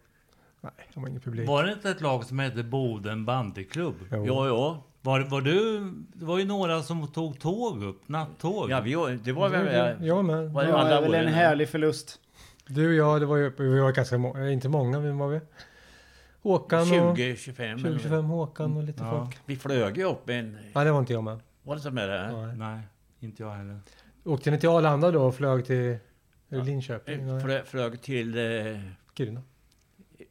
C: Nej, de var ingen publik.
B: Var det inte ett lag som hette Boden bandyklubb?
C: Jo.
E: Ja, ja.
B: Var, var du... Det var ju några som tog tåg upp, nattåg.
E: ja vi, det var väl...
C: Jag med.
E: var
D: Det
E: det
D: var
E: alla
D: väl en
E: åren?
D: härlig förlust.
C: Du och jag, det var ju, vi var ganska många, inte många, men var vi? Håkan och...
E: 20, 25.
C: 20, 25 Håkan och lite
B: Ja.
C: folk.
E: Vi flög ju upp en...
C: Nej, det var inte jag med.
E: Var det så med det?
C: Nej.
B: Nej, inte jag heller.
C: Åkte ni till Arlanda då och flög till Linköping?
E: Eh,
C: Nej,
E: Flö, flög till... Eh,
C: Kiruna?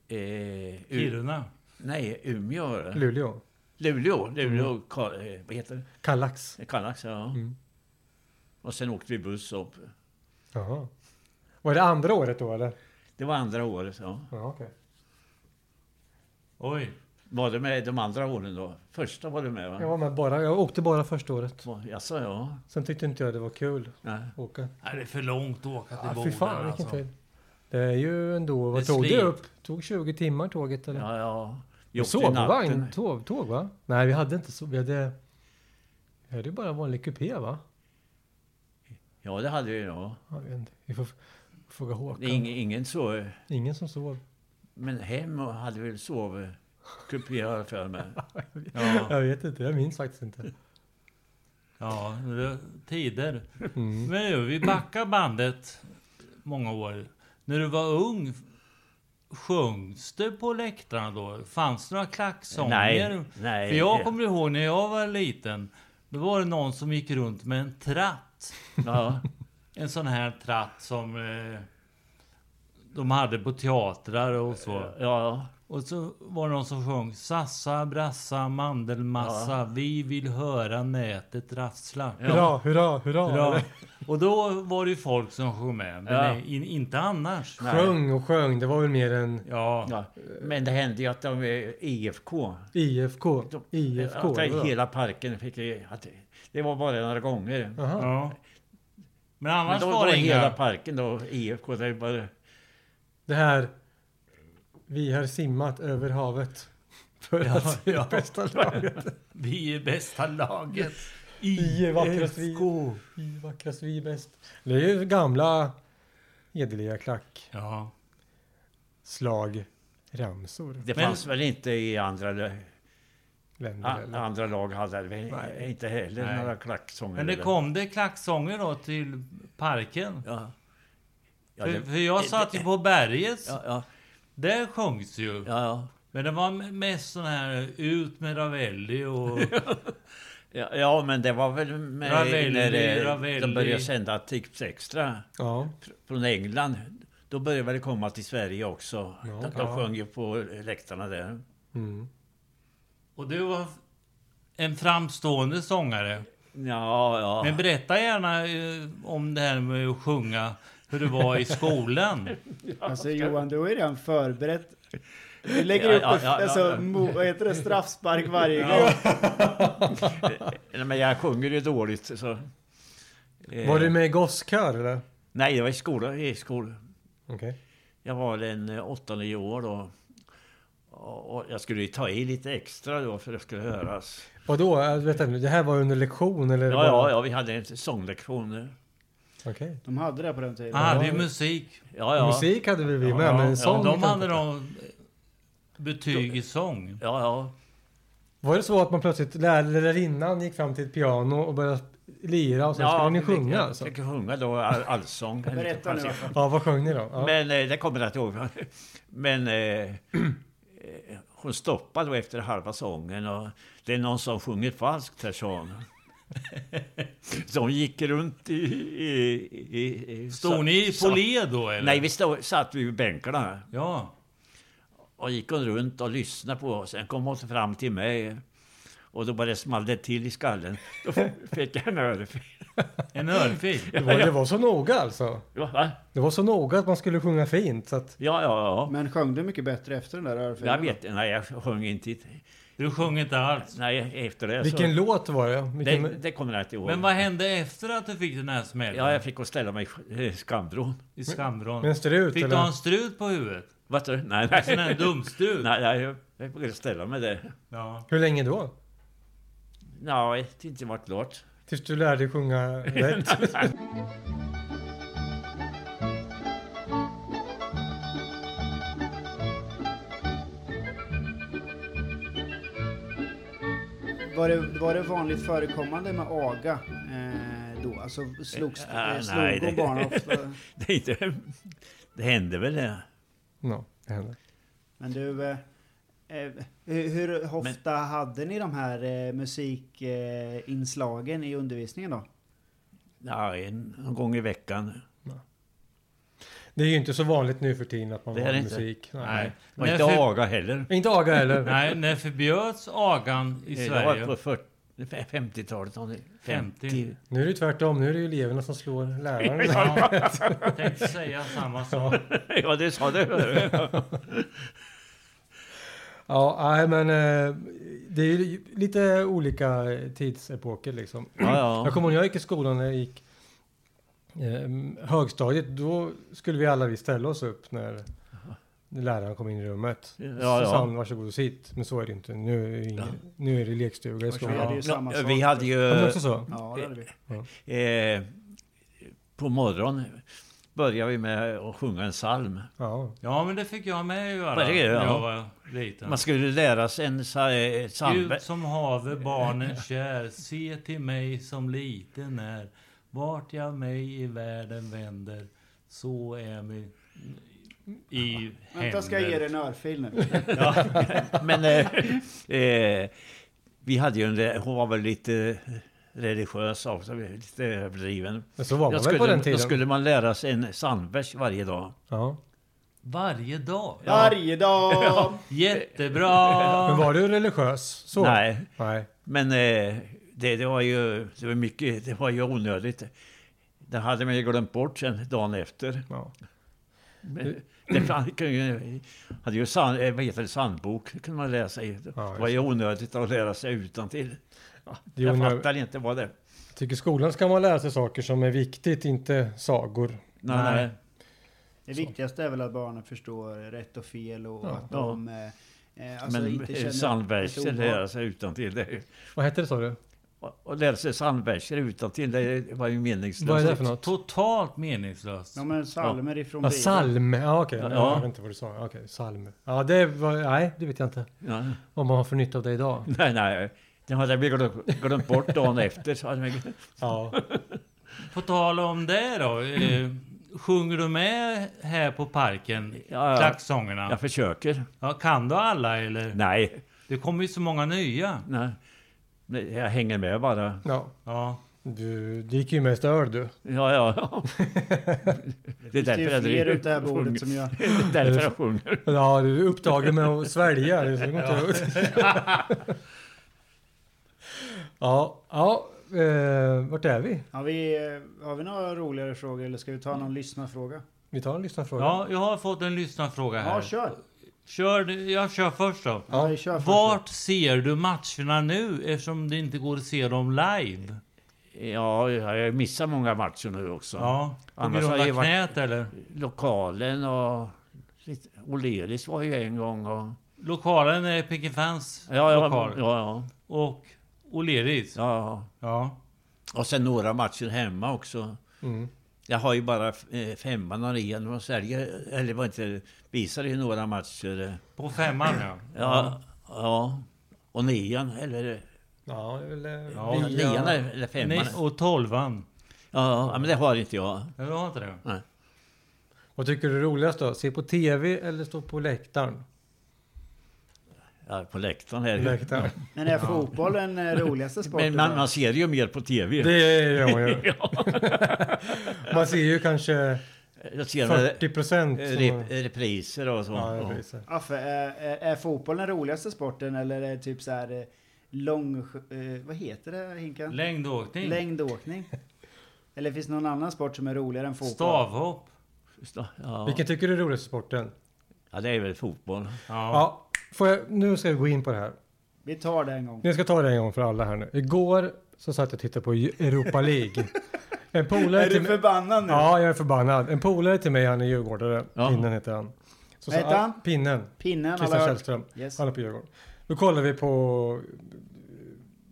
E: eh, U-
B: Kiruna.
E: Nej, Umeå var det.
C: Luleå?
E: Luleå. Luleå,
B: Mm.
E: Kal, eh, vad heter
C: Kallax?
E: det? Eh, Kallax, ja.
C: Mm.
E: Och sen åkte vi buss upp.
C: Jaha. Var det andra året då eller?
E: Det var andra året, ja.
C: Ja, okej.
B: Oj.
E: Var du med de andra åren då? Första var du med va?
C: Jag var med bara, jag åkte bara första året.
E: Så- Jaså, ja.
C: Sen tyckte inte jag det var kul
E: Nej.
C: att åka.
B: Nej, det är för långt att åka till
C: Ja, fy
B: Boden.
C: fan vilken
B: alltså.
C: tid. Det är ju ändå, vad
B: Det
C: tog det
B: slet.
C: upp? Tog 20 timmar tåget eller?
E: Ja, ja. Vi
C: Vi
E: åkte i
C: Sovvagn?
E: natten.
C: Tåg, tåg va? Nej vi hade inte så, vi hade... Vi hade ju bara vanlig kupé va?
E: Ja, det hade vi, ja.
C: Jag vet inte. Vi får f- fråga Håkan.
E: Ingen, ingen sov...
C: Ingen som sov.
E: Men hem och hade väl sovkupé har jag för mig.
B: Ja,
C: Jag vet inte, jag minns faktiskt inte.
B: ja det- tider.
C: Mm.
B: Men nu, vi backar bandet många år. När du var ung, sjöngs det på läktarna då? Fanns det några klacksånger?
E: Nej, nej.
B: För jag kommer ihåg när jag var liten. Då var det någon som gick runt med en tratt.
E: Ja,
B: En sån här tratt som eh, de hade på teatrar och så.
E: ja,
B: Och så var det någon som sjöng Sassa, brassa, mandelmassa. Vi vill höra nätet rassla.
C: Hurra, hurra, hurra!
B: Bra.
C: eller?
B: Och då var det ju folk som sjöng med. Men
E: Ja.
B: nej, in, inte annars.
E: Nej.
C: Sjöng och sjöng, det var väl mer en
B: Ja.
E: ja. Men det hände ju att de eh, IFK.
C: IFK?
E: De,
C: IFK?
E: Att
C: eller vad?
E: hela parken fick det- att det- Det var bara några gånger.
C: Jaha.
B: ja. Men annars
E: Men då
B: var
E: var
B: det inga...
E: hela parken då IFK. Det var bara,
C: Det här... Vi har simmat över havet. För
B: Ja,
C: att se
B: ja.
C: bästa laget.
B: Vi är bästa laget.
E: <laughs>
C: I är vackrast vi.
B: IFK.
C: I vackrast, vi är bäst. Det är ju gamla hederliga
B: Ja.
C: klackslag. Ramsor.
E: det
B: Men-
E: fanns väl inte i andra, lö-
C: Länder
E: a,
C: eller?
E: andra lag. hade väl
C: Nej.
E: Inte heller
B: Nej.
E: några klacksånger.
B: Men det
E: eller-
B: kom det klacksånger då till parken.
E: Ja. Ja,
B: För,
E: det,
B: för jag satt ju på berget.
E: ja, ja,
B: Där sjöngs ju.
E: ja,
B: Men det var mest sån här ut med Ravelli
E: <laughs>
B: och...
E: ja, ja, men det var väl med
B: Ravelli,
E: när eh,
B: Ravelli.
E: de började sända Tips Extra.
C: Ja.
E: från England. Då började det komma till Sverige också.
C: Ja.
E: de
C: Ja.
E: de sjöng ju på läktarna där.
C: Mm.
B: Och du var en framstående sångare.
E: Ja, ja.
B: Men berätta gärna eh, om det här med att sjunga, hur det var i skolan.
D: Alltså Johan, du har ju redan förberett. Du
E: <laughs>
D: lägger
E: Ja,
D: upp
E: ja, ja,
D: alltså,
E: ja.
D: Mo, vad heter det, straffspark varje gång.
E: Eh, Nej, men jag sjunger ju dåligt. Så. Eh,
C: Var du med i gosskör eller?
E: Nej, jag var i skolan. I skol.
C: Okej.
E: Jag var en eh, åtta, nio år då. Och och jag skulle ju ta i lite extra då för att det skulle höras.
C: Vadå? Äh, Vänta nu, det här var under lektion eller?
E: Ja,
C: bara-
E: ja, ja, vi hade en sånglektion.
C: Okej.
D: De hade det på den tiden.
B: Han
E: Ah,
B: hade ju musik.
E: Ja, ja.
C: Musik hade vi med,
E: Ja,
C: men
E: ja,
C: sång...
B: De hade nog betyg i sång.
E: Ja, ja.
C: Var det så att man plötsligt lär- lärarinnan gick fram till ett piano och började lira och sen
E: ja,
C: skulle ni
E: jag-
C: sjunga
E: jag,
C: alltså?
E: Jag fick sjunga då, all, allsång.
D: Berätta nu.
C: Ja, vad sjöng ni då? Ja.
E: Men eh, det kommer jag inte ihåg. <laughs> Men eh, eh, hon stoppade då efter halva sången och det är någon som sjunger falskt här, sa <laughs> hon. Så hon gick runt i... i, i, i
B: Stod ni på
E: sa-
B: led då eller?
E: Nej, vi stod, satt vid bänkarna
B: Ja.
E: och gick hon runt och lyssnade på oss. Sen kom hon fram till mig och då bara det small det till i skallen. <laughs> Då f- fick jag en örfil.
B: En örfil.
E: <laughs>
C: Det, var, det var så noga alltså?
E: Ja, va?
C: Det var så noga att man skulle sjunga fint så att...
E: ja, ja. ja.
D: Men sjöng du mycket bättre efter den där
E: Jag
D: örfilen?
E: vet inte, nej jag sjöng inte.
B: Du sjöng inte alls.
E: Nej, efter det
C: Vilken
E: så...
C: låt var det? Vilken...
E: Det, det kommer jag inte ihåg.
B: Men vad hände efter att du fick den här smällen?
E: Ja, jag fick gå och ställa mig i eh, skambron.
B: I skamvrån.
C: men strut,
B: Fick du
C: eller?
B: ha en strut på huvudet?
E: Vad du? Nej,
B: En sån Alltså, här
E: nej.
B: dumstrut?
E: nej, nej, jag- jag fick gå och ställa mig där.
B: Ja.
C: Hur länge då?
E: Nej, det har inte varit klart.
C: Tills du lärde dig
E: <laughs>
C: sjunga rätt?
D: Var det, var det vanligt förekommande med aga eh, då? Alltså slogs,
E: Ah,
D: eh, slog
E: nej,
D: hon
E: det-
D: barn
E: <laughs>
D: ofta?
E: Det, är inte, det hände väl det.
C: no, det händer.
D: Men du, eh, eh, hur, hur ofta hade ni de här eh, musikinslagen eh, inslagen i undervisningen då?
E: Ja, en, någon gång i veckan.
C: Det är ju inte så vanligt nu för tiden att man
E: Det är
C: har
E: det inte.
C: musik. Nej.
B: Nej.
E: Det var
B: När
E: inte
B: för-
E: aga heller.
C: Inte aga heller.
E: <laughs>
B: Nej, när förbjöds agan i
E: Det
B: Sverige?
E: var på 40 50-talet. om det-
B: 50.
E: 50.
C: Nu är det tvärtom. Nu är det ju eleverna som slår läraren.
B: Ja, jag tänkte säga samma sak.
E: <laughs> Ja,
B: <laughs>
E: det sa du.
C: Ja, nej, men eh, det är ju lite olika tidsepoker liksom.
E: Ja,
C: Jag
E: ja.
C: kommer ihåg när jag gick i skolan, när jag gick eh, högstadiet, då skulle vi alla vi ställa oss upp när läraren kom in i rummet.
E: Ja, ja.
C: Susanne, varsågod och sitt. Men så är det inte. Nu är det, ingen, nu är det lekstuga i
D: Vi
C: skolan.
D: hade
C: Ja.
D: ju samma
E: Nå,
D: sak.
E: Vi hade ju...
C: Men också så.
D: Ja, det hade vi.
E: Eh, på morgonen började vi med att sjunga en psalm.
C: Ja.
B: Ja, men det fick jag med göra
E: Vad är det,
B: när
E: ja?
B: jag var liten.
E: Man skulle lära sig en eh, psa- psalm.
B: Gud som have
E: <laughs>
B: barnen kär, se till mig som liten är. Vart jag mig i världen vänder, så är min i
D: Vänta, ska jag ge dig
B: händer.
D: en örfil nu?
E: <laughs> Men eh, eh, vi hade ju en... re- Hon var väl lite eh, religiös också, lite överdriven.
C: Men så var man
E: Jag
C: väl på den
E: skulle, då
C: tiden?
E: skulle man lära sig en psalmvers varje dag.
C: Ja.
B: Varje dag?
D: Varje dag!
C: Men
D: <laughs>
B: Jättebra!
C: var du religiös? Så?
E: Nej,
C: Nej.
E: men eh, det, det var ju det var mycket, det var ju onödigt. Det hade man ju glömt bort sen dagen efter.
C: Ja.
E: Men Det fanns ju, hade ju sand, eh, vad heter det, sandbok, det kunde man läsa i. Det
C: Ja, just
E: var ju onödigt att lära sig utan till.
C: Det är
E: Jag
C: onö-
E: fattar inte vad det...
C: Jag tycker skolan ska man lära sig saker som är viktigt, inte sagor.
E: Nej,
B: Nej.
E: nej.
D: Det viktigaste är väl att barnen förstår rätt och fel och att de eh, eh, alltså inte
E: men
D: känner...
E: psalmverser
D: ett
E: lära sig alltså utan till. Det,
C: Vad hette det sa du?
E: och, och lära sig psalmverser utan till, det var ju meningslöst.
C: Vad är det för något?
B: Totalt meningslöst.
D: Ja, men psalmer ifrån
C: Ja,
D: Bibeln.
C: salm. Ja, okej.
E: Ja.
C: Ja, jag vet inte vad du sa. Ja, Okej, salm. Ja, det var... Nej, det vet jag inte.
E: Ja.
C: Om man har för nytta av det idag.
E: Nej, nej. Det hade jag glömt, glömt bort dagen efter. Så hade jag glömt.
C: Ja.
B: På tal om det då. Eh, sjunger du med här på parken?
E: Ja, ja.
B: Klacksångerna?
E: Jag försöker.
B: Ja, kan du alla eller?
E: Nej,
B: Det kommer ju så många nya.
E: nej. Nej, Jag hänger med bara.
C: ja.
B: Ja.
C: Du dricker ju mest öl du.
E: Ja, ja,
D: <laughs>
E: ja. Det är
D: Det är ju
E: därför jag
D: fler
E: dricker.
D: runt det
E: <laughs>
D: här bordet som gör...
E: Det är därför jag sjunger.
C: Ja, du är upptagen med att svälja. Det går inte ut. <laughs> Ja, ja. Eh, vart är vi?
D: Har vi, eh, har vi några roligare frågor eller ska vi ta någon lyssnarfråga?
C: Vi tar en lyssnarfråga.
B: ja, jag har fått en lyssnarfråga här.
D: Ja, kör!
B: Kör, jag kör först då.
D: Ja, vi kör först.
B: Vart ser du matcherna nu eftersom det inte går att se dem live?
E: Ja, jag har missat många matcher nu också.
B: Ja, på
E: Annars
B: grund
E: har det ju
B: av
E: varit-
B: knät eller?
E: Lokalen och... lite- Oleris var ju en gång och...
B: Lokalen är Picky Fans
E: Ja, ja, ja,
B: lokal.
E: ja,
B: Och O'Learys.
E: ja.
B: Ja.
E: Och sen några matcher hemma också.
C: Mm.
E: Jag har ju bara eh, femman och nian. De säljer, eller vad inte, visar ju några matcher. eh.
B: På femman ja.
E: Ja, ja. Och nian, eller...
C: Ja, det är väl... eh,
B: Ja,
E: Ja,
C: vi-
E: nian eller eller femman.
B: Nej, och tolvan.
E: Ja, ja, men det har inte jag.
B: Ja, du har inte det?
C: Vad tycker du är roligast då? Se på TV eller stå på läktaren?
E: Jag är på läktaren här.
C: Läktaren.
D: Men är fotbollen eh, roligaste sporten?
E: Men man, man ser ju mer på tv.
C: Det gör man
E: <laughs>
C: ju. Man ser ju kanske
E: jag ser eh,
C: 40 procent.
E: rep, repriser och så.
C: Ja,
E: Ja.
C: jag visar.
D: Affe, är, är, eh, är fotbollen roligaste sporten eller är det typ så här eh, lång... eh, Vad heter det Hinkan?
B: Längdåkning.
D: Längdåkning? Eller finns det någon annan sport som är roligare än fotboll?
B: Stavhopp.
E: Ja.
C: Vilken tycker du är roligaste sporten?
E: ja, det är väl fotboll.
B: Ja.
C: Ja, får jag, nu ska vi gå in på det här.
D: Vi tar det en gång.
C: Jag ska ta det en gång för alla här nu. Igår så satt jag och tittade på Europa
D: <laughs>
C: League. En polare
D: Är
C: till
D: du
C: mig...
D: förbannad nu?
C: Ja, jag är förbannad. En polare till mig, han är djurgårdare.
E: Ja.
C: Pinnen heter han. Så
D: Vad
C: sa-
D: heter han?
C: Pinnen.
D: Pinnen har
C: Christian
D: jag hört.
C: Källström.
D: Yes.
C: Han är på Djurgården. Då kollar vi på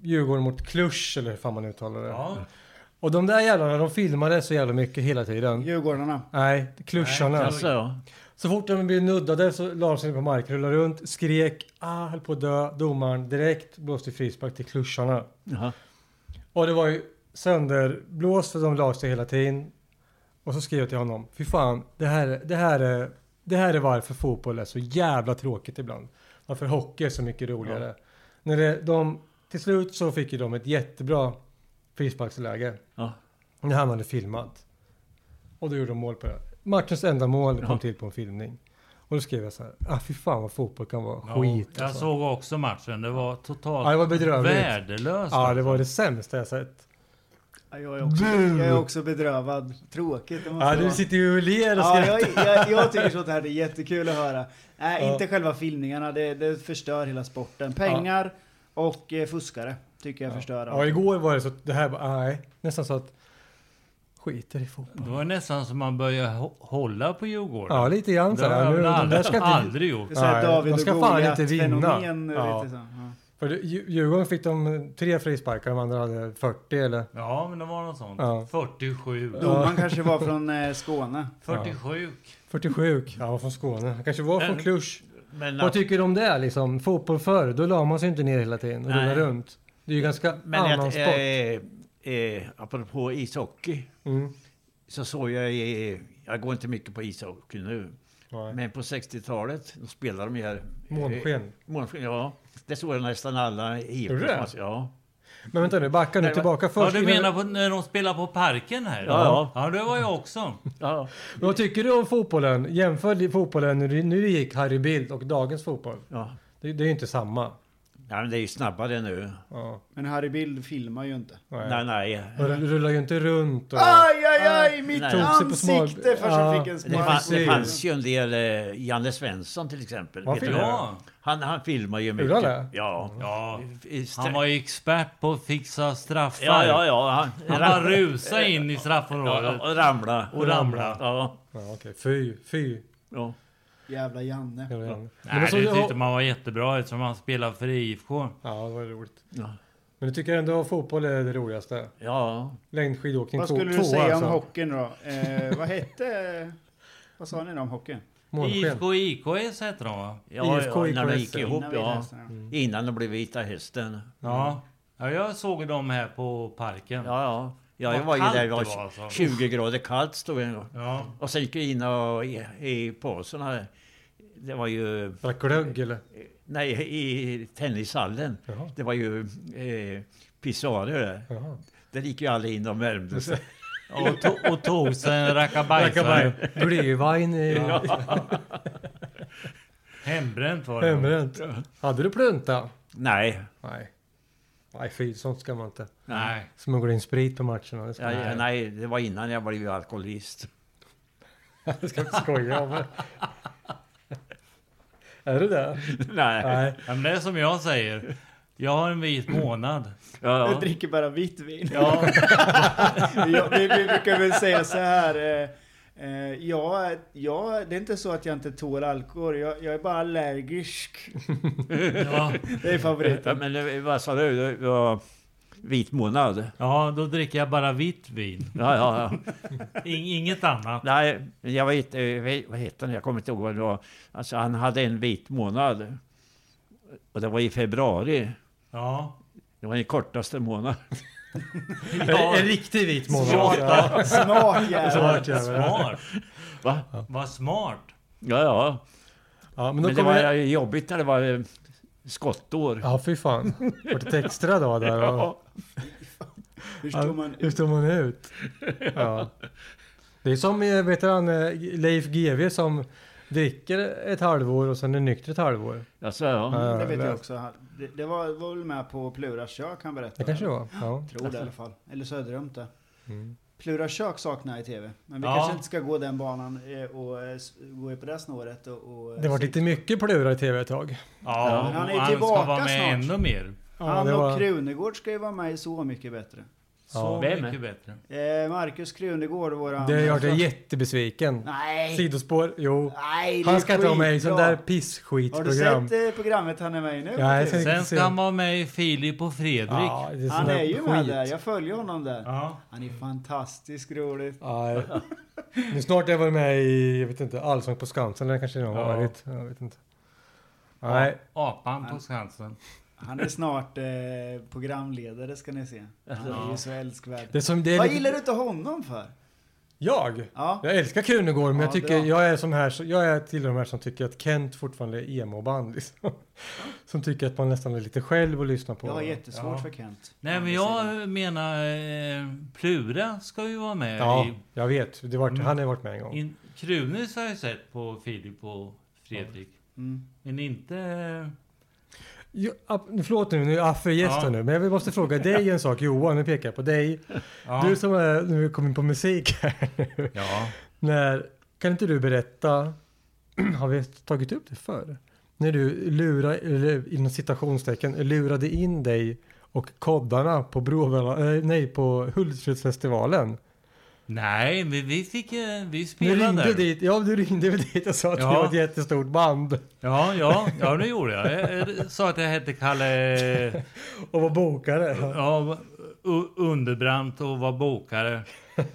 C: Djurgården mot Klusch eller hur fan man uttalar det.
B: Ja.
C: Och de där jävlarna, de filmade så jävla mycket hela tiden.
D: Djurgårdarna.
C: Nej, Kluscharna.
B: Nej,
E: Alltså, ja.
C: Så fort de blev nuddade så la de sig på marken, rullade runt, skrek, ah, höll på att dö. Domaren direkt blåste frispark till Kluscharna.
E: Jaha.
C: Och det var ju sönderblåst för de la sig hela tiden. Och så skrev jag till honom, fy fan, det här, det här, är, det här är varför fotboll är så jävla tråkigt ibland. Varför hockey är så mycket roligare. När det, de, till slut så fick ju de ett jättebra frisparksläge.
E: Ja.
C: När han hade filmat. Och då gjorde de mål på det. Matchens enda mål kom
E: Ja.
C: till på en filmning. Och då skrev jag så här, ah, fy fan vad fotboll kan vara
B: Ja,
C: skit.
B: jag
C: alltså."
B: såg också matchen. Det var totalt
C: Ja, det var bedrövligt.
B: värdelöst. alltså.
C: Ja, det var det sämsta jag sett.
D: Ja, Jag är också, jag är också bedrövad. Tråkigt. det måste
C: Ja, du
D: vara.
C: sitter ju och ler och
D: Ja,
C: skrattar.
D: jag, jag, jag tycker sånt här är jättekul att höra. Nej,
C: Ja.
D: inte själva filmningarna, det, det förstör hela sporten. Pengar och eh, fuskare tycker jag förstör
C: Ja,
D: allt.
C: igår var det så att det här bara, nej, nästan så att skiter i fotboll.
B: Det var nästan som man började hå- hålla på Djurgården.
C: Ja, lite grann
B: det
C: så
B: har
C: här.
B: jag
C: Nu,
B: väl
C: de där
B: aldrig,
C: ska inte,
B: aldrig gjort.
D: Det är så här
C: Nej,
D: David
C: de ska
D: och
C: fan
D: Goliat
C: inte vinna.
D: fenomen.
C: Ja.
D: Lite så. Ja.
C: för det- Dju- Djurgården fick de tre frisparkar, de andra hade 40 eller?
B: Ja, men det var något sånt.
C: Ja.
B: 47.
D: Domaren kanske var från eh, Skåne.
B: 47.
C: 47. Ja, han var från Skåne. Han kanske var från
E: Men-
C: Klusch.
E: Men,
C: Vad tycker du om det liksom? Fotboll förr, då la man sig inte ner hela tiden och
E: Nej.
C: rullade runt. Det är ju ganska
E: men
C: annan
E: att,
C: sport.
E: eh, eh, apropå ishockey
C: Mm.
E: så såg jag, eh, jag går inte mycket på ishockey nu,
C: Nej.
E: men på 60-talet då spelade de här... Eh,
C: Månsken.
E: Månsken, ja. Det såg jag nästan alla IFK.
C: Gjorde det?
E: Ja.
C: Men vänta nu, backa nu
E: Nej, det var-
C: tillbaka
B: Ja,
C: först.
B: du
C: innan-
B: menar på när de spelar på parken här?
E: Ja.
B: ja det var jag också.
E: ja.
C: Vad tycker du om fotbollen? Jämför di- fotbollen när du- nu gick Harry Bild och dagens fotboll.
E: ja.
C: Det, det är ju inte samma.
E: Nej, men det är ju snabbare nu.
C: Ja,
D: Men Harry Bild filmar ju inte.
C: nej.
E: Nej, nej.
C: Och det rullar ju inte runt. Och...
D: Aj, aj, aj! Mitt
E: Nej.
C: Tog sig på smal-
D: ansikte först
C: Ja.
D: jag fick en
E: Det fanns, det
C: precis.
E: fanns
D: spark.
E: ju en del, eh, Janne Svensson till exempel.
C: Vad
E: Vet du
C: filmar
E: vad?
B: Ja.
E: han, han filmar ju mycket.
C: Gjorde han det?
E: Ja.
B: ja.
E: I stra-
B: Han var ju expert på att fixa straffar.
E: ja, ja, ja. Han,
B: Han bara rusade in i
E: ja,
B: straffområdet.
E: och ramla.
B: Och ramla.
E: Ja.
C: Ja, okej. Fy, fy.
E: ja.
D: Jävla Janne.
C: Jag vet inte. Men
B: Nej,
C: så-
B: det
E: typ
B: tyckte man var jättebra eftersom han spelar för IFK.
C: Ja, det var roligt.
E: ja.
C: Men du tycker ändå att fotboll är det roligaste?
E: ja.
C: Längdskidåkning
D: Vad
C: två-
D: skulle
C: tvåa
D: du säga
C: alltså.
D: om hockeyn då? Eh, vad hette... Vad sa ni då om hockeyn?
C: Månsken.
B: IFK IKS heter de va?
E: Ja,
C: IFK,
E: ja, när de gick
C: IKS.
E: ihop,
D: Innan vi
E: ja.
D: läste den.
E: Innan de blev Vita Hästen.
B: Ja. ja, jag såg dem här på parken.
E: Ja, ja. ja jag
B: Vad
E: var ju
B: kallt
E: där,
B: det
E: det var
B: var, alltså.
E: 20 grader kallt stod jag.
B: Ja.
E: Och sen gick jag in och i, i påsarna. Det var ju...
C: Drack glögg eller?
E: Nej, i tennishallen.
C: Jaha.
E: Det var ju eh, pissoarer där.
C: Jaha.
E: Där gick ju alla in och värmde sig.
B: Och, to- och tog sig en rackabajsare.
C: Glühwein
E: <laughs>
C: i
B: Hembränt var det.
C: hemränt. Hade du plunta?
E: Nej,
C: Nej. Nej, fy. Sånt ska man inte.
B: Nej.
C: Smuggla in sprit på matcherna. Det ska
E: ja,
C: man
E: ja,
C: inte.
E: nej, det var innan jag blev alkoholist. <laughs>
C: Det <laughs> ska jag inte skoja om. är du det?
E: nej.
C: Nej.
B: Ja, men det är som jag säger. Jag har en vit månad.
E: Ja,
D: Du dricker bara vitt vin. <laughs>
B: Ja,
D: jag, vi, vi brukar väl säga så här. Eh, eh, ja, ja, det är inte så att jag inte tål alkohol. Jag, jag är bara allergisk.
B: ja,
D: Det är
E: ja, <laughs>
D: favoriten.
E: men eh, vad sa du? Det var vit månad?
B: ja, då dricker jag bara vitt vin.
E: Ja, ja, ja.
B: In- inget annat.
E: Nej, men jag vet, eh, vad hette han? Jag kommer inte ihåg vad det var. Alltså, han hade en vit månad. Och det var i februari.
B: Ja.
E: Det var den kortaste månaden.
C: En, en riktig vit månad.
B: Smart,
C: Ja.
D: Smak jävlar.
C: Smart jävel.
B: Smart.
E: Va?
B: Vad smart.
E: Ja, ja.
C: Ja, men då
E: Men det
C: kommer
E: var
C: det...
E: jobbigt när det var eh, skottår.
C: Ja, fy fan. Vart det extra då där?
D: <laughs>
C: Ja.
D: Hur står
C: Ja,
D: man
C: hur
D: ut?
C: står man ut? Ja. Det är som eh, vet du han, eh, Leif GW som dricker ett halvår och sen är nykter ett halvår.
E: Alltså, ja.
D: Det vet jag också. Det, det var, var väl med på Pluras kök han berättade.
C: Det kanske det var. Ja. Mm.
D: Tror det i alla fall. Eller så har jag drömt det. Plura kök saknar jag i tv. Men vi
B: Ja.
D: kanske inte ska gå den banan eh, och eh, s- gå på det snåret. Och, och,
C: Det var lite mycket plura i tv ett tag.
B: Ja,
D: men han är
B: och
D: tillbaka
B: ska vara med
D: snart.
B: ännu mer.
D: Han
C: det
D: och
C: var-
D: Krunegård ska ju vara med i Så mycket bättre.
B: Så
C: Ja.
E: Vem?
B: mycket bättre.
D: Eh, Marcus Krunegård, våran...
C: Det har gjort mig jättebesviken.
D: alltså- Nej!
C: Sidospår, jo.
D: Nej, det är
C: Han ska inte vara med i sånt
D: skitbra.
C: där
D: Har du
C: pissskitprogram.
D: sett eh, programmet han är med i nu?
C: Ja, jag ser-
B: Sen
C: se.
B: ska han vara med i Filip och Fredrik.
C: Ja, det är sån
D: Han
C: där
D: är ju med
C: skit.
D: där, jag följer honom där.
B: Ja.
D: Han är fantastiskt rolig.
C: Ja, nu snart har jag varit med i, jag vet inte, Allsång på Skansen eller kanske det har
B: Ja.
C: varit. Jag vet inte. Nej,
B: Apan på Skansen.
D: Han är snart eh, programledare ska ni se. Han är ju så älskvärd.
C: det är som det är
D: Vad
C: lite-
D: gillar du inte honom för?
C: Jag?
D: Ja.
C: Jag älskar Krunegård men
D: Ja,
C: jag tycker,
D: bra.
C: jag är sån här, så- jag är till de här som tycker att Kent fortfarande är emo-band liksom. Som tycker att man nästan är lite själv och lyssnar på.
D: Jag har jättesvårt
B: Ja.
D: för Kent.
B: Nej men jag menar eh, Plura ska ju vara med
C: Ja,
B: i
C: jag vet. Det var, Han har varit med en gång.
B: Mm. In, Krunis har jag sett på Filip och Fredrik.
D: Mm.
B: Men inte...
C: Jo, app, förlåt nu, nu är Affe gäst här
B: Ja.
C: nu. Men jag måste fråga dig en sak Johan, nu pekar jag på dig.
B: Ja.
C: Du som är, nu kom in på musik här nu.
B: ja.
C: När, kan inte du berätta, <clears throat> har vi tagit upp det förr? När du lurade, eller inom citationstecken, lurade in dig och koddarna på Bråvalla, eh, nej på Hultsfredsfestivalen.
B: Nej, men vi fick... eh, Vi
C: Du
B: spelade.
C: ringde dit, ja du ringde väl dit och sa att
B: Ja.
C: det var ett jättestort band
B: Ja, ja, ja, det gjorde jag. Jag, jag sa att jag hette Kalle...
C: och var bokare.
B: Ja, U- Underbrant och var bokare.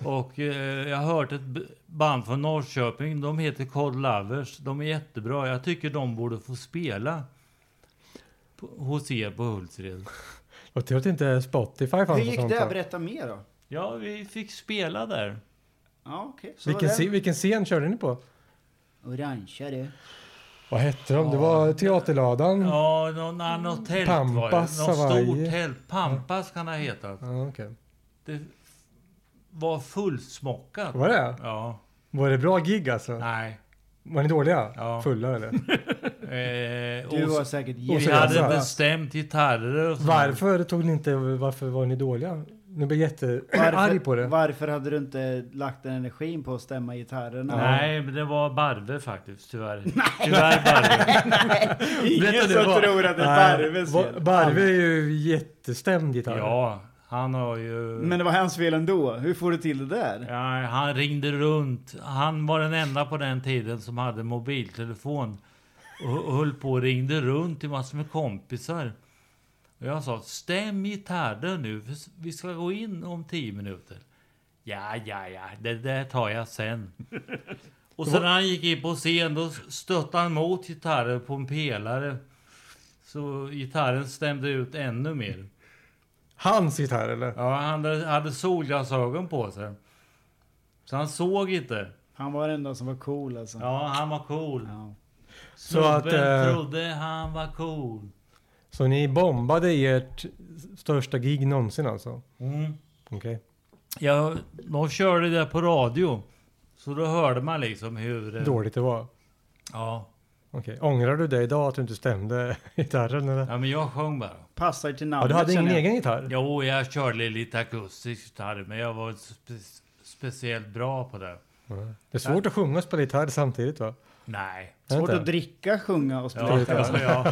B: Och eh, jag har hört ett b- band från Norrköping. De heter Cold Lovers. De är jättebra. Jag tycker de borde få spela på, hos er på Hultsfred.
C: Och tur att inte Spotify fanns
D: Hur
C: och
D: gick
C: sånt
D: det?
C: där.
D: Berätta mer då.
B: Ja, vi fick spela där.
D: Ja, okej. Så
C: Vilken,
D: var det.
C: scen, vilken scen körde ni på?
D: Orangea du.
C: Vad hette de? Det var Teaterladan? Ja.
B: Ja, någon annan tält var det. Något
C: Pampas, Hawaii.
B: stort tält. Pampas kan det ha hetat.
C: okej.
B: Det f- var fullsmockat.
C: Var det?
B: Ja.
C: Var det bra gig alltså?
B: Nej.
C: Var ni dåliga?
B: Ja.
C: Fulla eller?
B: Eh,
D: Du
B: och
D: var
B: s-
D: säkert
B: vi
C: så-
B: hade
D: jättebra.
B: bestämt gitarrer och sånt.
C: Varför tog ni inte, varför var ni dåliga? Nu blir jag jättearg på det.
D: varför hade du inte lagt den energin på att stämma gitarrerna?
B: Nej, men det var Barve faktiskt, tyvärr. Tyvärr
D: <laughs>
B: Barve.
D: <laughs> Ingen
C: Berätta
D: som
C: det bara.
D: tror att det är
C: Nej,
D: Barves
C: va-
D: fel.
C: Barve är ju jättestämd gitarr.
B: Ja, han har ju...
D: Men det var hans fel ändå. Hur får du till det där?
B: Ja, han ringde runt. Han var den enda på den tiden som hade mobiltelefon. Och och höll på och ringde runt till massor med kompisar. Och jag sa, stäm gitarren nu, för s- vi ska gå in om tio minuter. Ja, ja, ja, det där tar jag sen. Och sen när han gick in på scen, då stötte han mot gitarren på en pelare. Så gitarren stämde ut ännu mer.
C: Hans gitarr eller?
B: Ja, han hade- hade solglasögon på sig. Så han såg inte.
D: Han var den enda som var cool alltså.
B: Ja, han var cool.
D: Ja.
C: Så att,
B: Snubben
C: eh,
B: trodde han var cool.
C: Så ni bombade ert största gig någonsin alltså?
B: Mm.
C: Okej.
B: Ja, de körde det på radio. Så då hörde man liksom hur... eh,
C: Dåligt det var.
B: Ja.
C: Okej. Ångrar du dig idag att du inte stämde <laughs> gitarren eller?
B: ja, men jag sjöng bara.
D: Passar till
C: Ja,
D: namnet
C: du hade ingen
D: känner jag.
C: egen gitarr?
B: Jo, jag körde lite akustisk gitarr, men jag var inte spe- speciellt bra på det.
C: Nej. Det är svårt att sjunga och spela gitarr samtidigt va?
B: Nej.
D: Svårt
C: Vänta.
D: att dricka, sjunga och
B: Ja,
D: spela.
B: alltså, ja.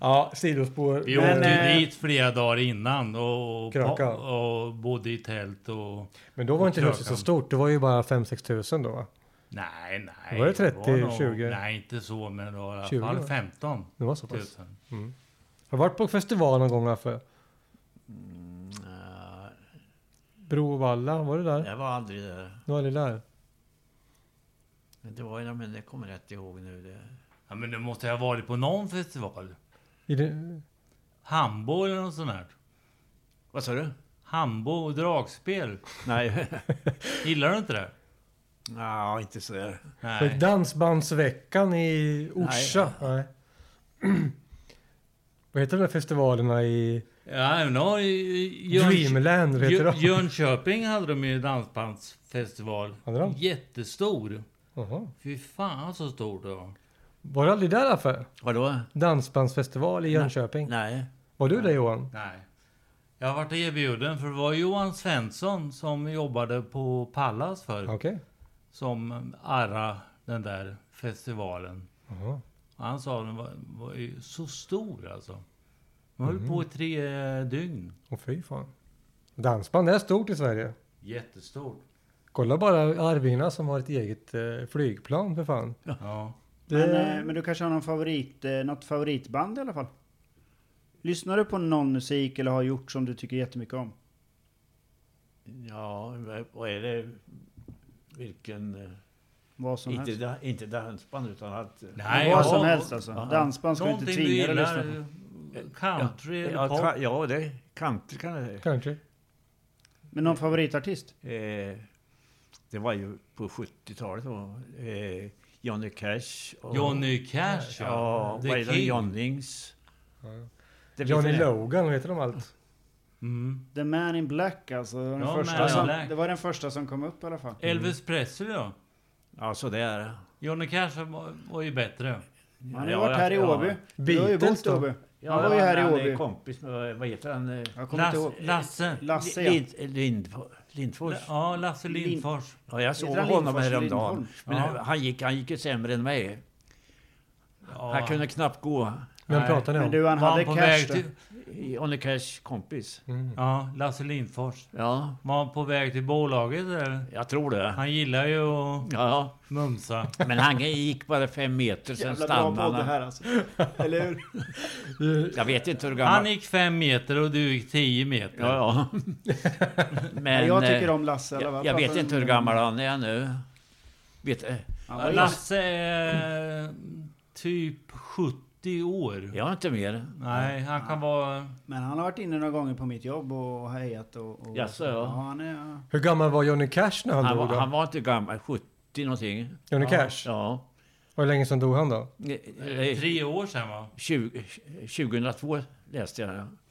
C: Ja, sidospår.
B: Vi
D: Men,
B: åkte
D: eh,
B: dit flera dagar innan och, och,
C: Kröka.
B: och bodde i tält och...
C: Men då var inte huset så
B: Krökan.
C: stort. Det var ju bara 5-6 tusen då va?
B: Nej, nej.
C: Var det 30,
B: nog-
C: 20?
B: Nej, inte så, men det var i alla
C: 20,
B: fall
C: va?
B: 15
C: Det var så pass.
B: 000.
C: Har du varit på festival någon gång Affe?
E: Eh,
C: Bråvalla, var det där?
E: Jag var aldrig där.
C: Du var aldrig där?
E: Men det var ju, men det kommer jag rätt ihåg nu. Det.
B: Ja, men det måste jag ha varit på någon festival.
C: I det...
B: Hambo eller något sånt här.
E: Vad sa du?
B: Hambo och dragspel.
E: Nej, <laughs>
B: Gillar du inte det?
E: ja, inte så där.
C: Var det
B: Nej.
C: Dansbandsveckan i Orsa? Nej. <clears throat> Vad heter de där festivalerna i
B: Ja, men då, i- Jön-
C: Dreamland? vad Heter
B: Jö-
C: de?
B: Jönköping hade de ju dansbandsfestival.
C: Hade de?
B: Jättestor.
C: Jaha.
B: Fy fan så stor det var.
C: Var du aldrig där Affe?
E: Vadå?
C: Dansbandsfestival i Jönköping?
E: Nej.
C: Var du där Johan?
B: Nej. Jag har varit erbjuden för det var Johan Svensson som jobbade på Pallas förr.
C: Okej.
B: Som arra den där festivalen.
C: Jaha.
B: Han sa den var, var ju så stor alltså. Den höll på i tre eh, dygn.
C: Åh fy fan. Dansband är stort i Sverige.
B: Jättestort.
C: Kolla bara Arvingarna som har ett eget eh, flygplan för fan.
B: Ja.
C: Det-
D: Men, eh, men du kanske har någon favorit, eh, något favoritband i alla fall? Lyssnar du på någon musik eller har gjort som du tycker jättemycket om?
E: Ja, vad är det? Vilken... eh,
D: Vad som
E: Inte,
D: helst.
E: da, inte dansband utan att... eh,
B: Nej,
D: Vad
B: ja,
D: som helst alltså.
E: ja.
D: Dansband ska du inte
B: Någonting du
D: tvinga dig att lyssna
B: gillar?
D: på.
B: eh, Country eller
E: ja,
B: pop?
E: tra- ja, det country kan jag säga.
C: Kanske.
D: Men någon favoritartist?
E: eh, Det var ju på 70-talet då. Eh, Johnny Cash. Och,
B: Johnny Cash
E: Ja,
B: The
E: vad är det?
B: King.
E: Johnnings.
C: Ja.
E: Det finns
C: Johnny
E: en-
C: Logan, vet de allt?
B: Mm.
D: The Man in Black alltså. Det var Den
B: Ja, Man
D: första
B: in
D: som,
B: Black.
D: det var den första som kom upp i alla fall.
B: Elvis Presley då?
E: Ja, sådär.
B: Johnny Cash var, var ju bättre.
D: Han har ju
E: Ja,
D: varit här i
E: ja.
D: Åby. Du har ju
C: Beatles
D: bott i
C: då?
D: Åby. Han var ju här i
E: han är
D: Åby.
E: kompis med, vad heter han? eh,
D: Jag kommer inte
B: Lasse,
D: ihåg.
B: Lasse.
D: Lasse ja.
E: Lind, Lind, Lindfors.
B: Ja, Lasse
D: Lin-
B: Lindfors.
E: Ja, jag såg
D: Heter han
E: honom
D: Lindfors eller
E: häromdagen.
D: Lindholm?
E: Men
B: Ja.
E: han, gick, han gick ju sämre än mig.
B: Ja.
E: Han kunde knappt gå.
C: Vem
B: Nej.
C: pratar ni om?
D: Men du, han
B: Var
D: hade
B: på
D: cash
B: väg
D: då.
B: till,
E: Johnny Cash kompis.
C: Mm.
B: Ja, Lasse Lindfors.
E: Ja,
B: Var han på väg till bolaget eller?
E: jag tror det.
B: Han gillar ju att
E: Ja,
B: mumsa.
E: men han gick bara fem meter, sen
D: Jävla bra podd
E: stannade
D: det
E: han.
D: här alltså. Eller hur?
E: Jag vet inte hur gammal...
B: Han gick fem meter och du gick tio meter.
E: Ja,
D: <laughs>
E: ja. men,
D: jag tycker
E: eh,
D: om Lasse. eller
E: jag,
D: vad?
E: jag vet
D: Pratar
E: inte
D: om-
E: hur gammal han är nu. Vet, eh,
D: Han var ju-
B: Lasse är typ 70 år.
E: jag har inte mer.
B: Nej, han kan vara...
D: Men han har varit inne några gånger på mitt jobb och hejat och... och
E: Jaså, ja.
D: han är...
C: Hur gammal var Johnny Cash när han,
E: Han,
C: dog
E: var-
C: då?
E: han var inte gammal, 70 någonting.
C: Johnny Cash?
E: Ja.
C: Och hur länge sedan dog han då?
E: Eh, eh,
B: Tre år sedan va?
E: 20, 2002 läste jag.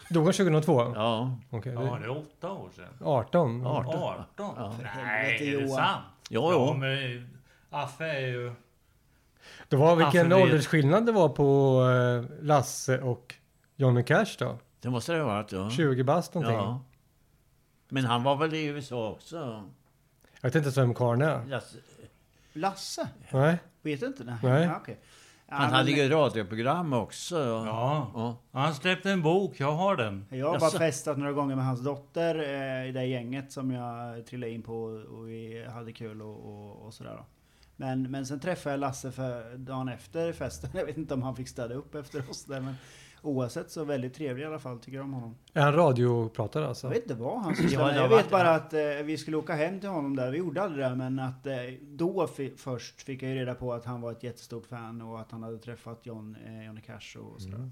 C: Dog han 2002?
E: Ja,
C: Okej, det-
B: Ja, det är åtta år sedan.
C: 18?
E: 18.
B: 18?
E: Ja.
B: Nej,
D: Helvete,
B: är det
D: Johan.
B: sant?
E: Ja,
B: Ja,
E: ja.
B: men Affe är ju...
C: Det var vilken
B: Alltså, det-
C: åldersskillnad det var på eh, Lasse och Johnny Cash då?
E: Det måste det ha varit. Ja.
C: 20 bast någonting.
E: ja. Men han var väl i USA också?
C: Jag vet inte ens vem karln är.
E: Lasse-
D: Lasse?
C: Nej.
D: Vet du inte? Nej.
C: Nej.
D: Ja, okej. Ja,
E: Han
D: men-
E: hade ju radioprogram också. Ja.
B: Ja.
E: Ja.
B: Han släppte en bok, jag har den.
D: Jag har bara
E: Jaså?
D: festat några gånger med hans dotter eh, i det gänget som jag trillade in på och vi hade kul och, och, och sådär. Då. Men, men sen träffade jag Lasse för dagen efter festen. <laughs> Jag vet inte om han fick städa upp efter oss där men oavsett så väldigt trevlig i alla fall tycker jag om honom.
C: Är han radiopratare alltså?
D: Jag vet inte vad han sysslade
E: Ja,
D: med.
E: det
D: Jag
E: var-
D: vet bara att eh, vi skulle åka hem till honom där. Vi gjorde aldrig det men att eh, då fi- först fick jag ju reda på att han var ett jättestort fan och att han hade träffat John, eh, Johnny Cash och sådär.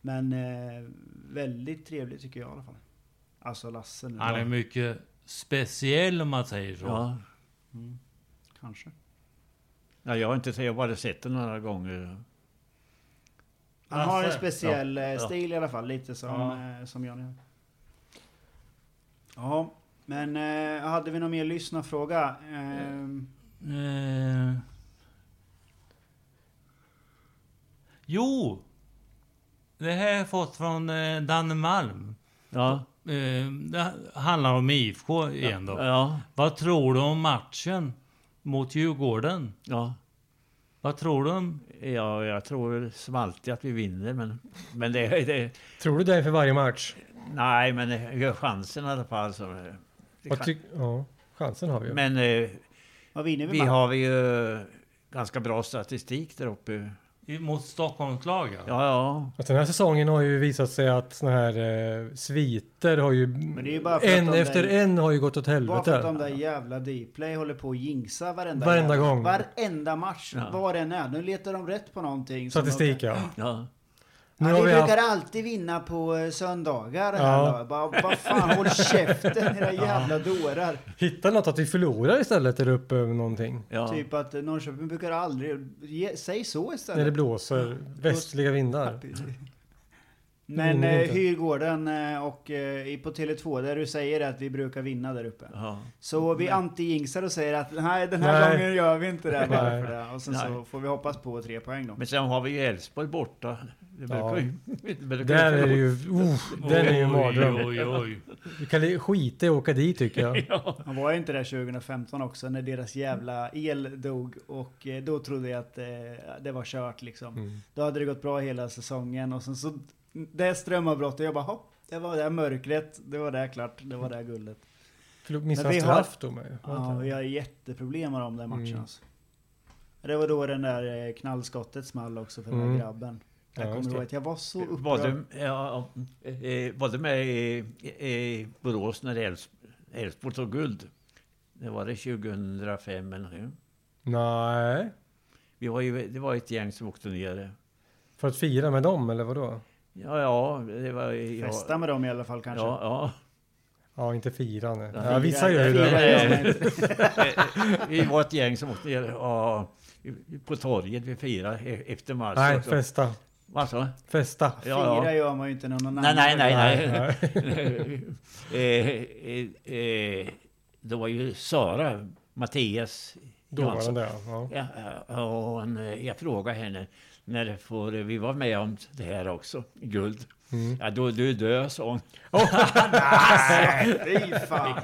D: Men eh, väldigt trevlig tycker jag i alla fall. Alltså Lasse nu.
B: Han är
D: Ja,
B: mycket speciell om man säger så.
E: Ja.
D: Kanske.
E: Ja, jag har inte sett, jag har bara sett det några gånger.
D: Han har en
B: Lasse,
D: speciell eh,
E: ja.
D: stil i alla fall. Lite som,
B: Ja.
D: eh, som Johnny. har. Ja, men eh, hade vi någon mer lyssnarfråga? Ehm,
B: Eh... Jo! Det här har jag fått från eh, Danne Malm.
E: Ja.
B: Eh, det handlar om IFK igen då.
E: Ja.
B: Vad tror du om matchen mot Djurgården?
E: ja.
B: Vad tror du om...
E: Ja, jag tror som alltid att vi vinner, men, men det, det...
C: Tror du det inför varje match?
E: Nej, men vi har chansen i alla fall. Så, det
C: Vad
E: kan-
C: ty- ja, chansen har vi ju.
E: men eh,
D: vad vinner vi,
E: vi
D: matchen?
E: har ju ganska bra statistik där uppe.
B: Mot Stockholmslagen?
E: Ja, ja.
C: Att den här säsongen har ju visat sig att såna här eh, sviter har ju...
D: det är ju bara för att
C: en
D: de
C: efter
D: där-
C: en har ju gått åt
D: Bara för att de
C: helvete.
D: där jävla Dplay håller på att jinxa varenda,
C: Varenda
D: jävla-
C: gång.
D: Varenda match,
E: Ja.
D: vad den är. Nu letar de rätt på någonting. som
C: Statistik
D: de-
C: ja.
E: ja.
C: Nu
D: ja,
C: har
D: vi
C: vi
D: brukar
C: haft...
D: alltid vinna på eh, söndagar.
C: Ja.
D: Ja. Bara, vad fan, håll käften era jävla dårar.
C: Hitta något att vi förlorar istället där uppe någonting.
E: ja.
D: Typ att eh, Norrköping brukar aldrig... Ge, säg så
C: När det
D: istället.
C: blåser västliga vindar. Det
D: Men
C: går
D: eh,
C: inte.
D: hyr gården eh, och eh, i- på Tele2 där du säger att vi brukar vinna där uppe.
E: Ja.
D: Så vi anti-jinxar och säger att nej, den här
C: Nej.
D: gången gör vi inte det här bara
C: Nej.
D: för det. Och sen så
E: Nej.
D: får vi hoppas på tre poäng då.
E: Men sen har vi ju Elfsborg borta. Det brukar
C: Ja.
E: ju... <laughs> det brukar ju
C: Där är det
E: förlora.
C: ju, oh, den är ju en mardröm.
B: Oj, oj, oj.
C: Du kan li- skita i att åka dit tycker jag.
D: Han var ju inte där 2015 också när deras jävla el dog och eh, då trodde jag att eh, det var kört liksom.
C: Mm.
D: Då hade det gått bra hela säsongen och sen så det strömavbrottet. Jag bara hopp, det var det här mörkret, det var det här klart, det var det här guldet.
C: Förlåt, missade
D: Men
C: han
D: vi har-
C: straff då med?
D: Ja, vi har jätteproblem med de där matcherna.
C: Mm.
D: Alltså. Det var då den där eh, knallskottet small också för den
C: Mm.
D: där grabben. Jag
C: Ja, just
D: kommer
C: det.
D: ihåg att jag var så upprörd.
E: Var det, ja, eh, var det med i, i Borås när Älvs- Elfsborg tog guld? Det var det 2005 eller hur?
C: Nej.
E: Vi var ju, det var ett gäng som åkte ner.
C: För att fira med dem eller vadå?
E: Ja, ja, det var... Ja,
D: Festa med dem i alla fall kanske.
E: Ja, ja.
C: Ja, inte fira nej.
E: Ja,
C: Ja, vissa gör ju
D: Fira-
C: det.
D: fira gör man inte.
E: Vi var ett gäng som åkte ner ja, på torget vid fyra e- efter matchen.
C: Nej,
E: Så-
C: festa.
E: Vad sa du?
C: Festa.
E: Ja,
D: Fira
E: ja.
D: gör man ju inte när någon
E: Nej,
D: annan
E: nej, nej. nej.
C: Nej.
E: <laughs> eh, eh, eh, det var ju Sara, Mattias
C: Då var
E: alltså.
C: den där. Ja.
E: Ja, ja, och hon, eh, jag frågade henne, när får vi var med om det här också, guld.
C: Mm.
E: Ja, då du är död, sa hon. <laughs>
D: Alltså, Fy fan.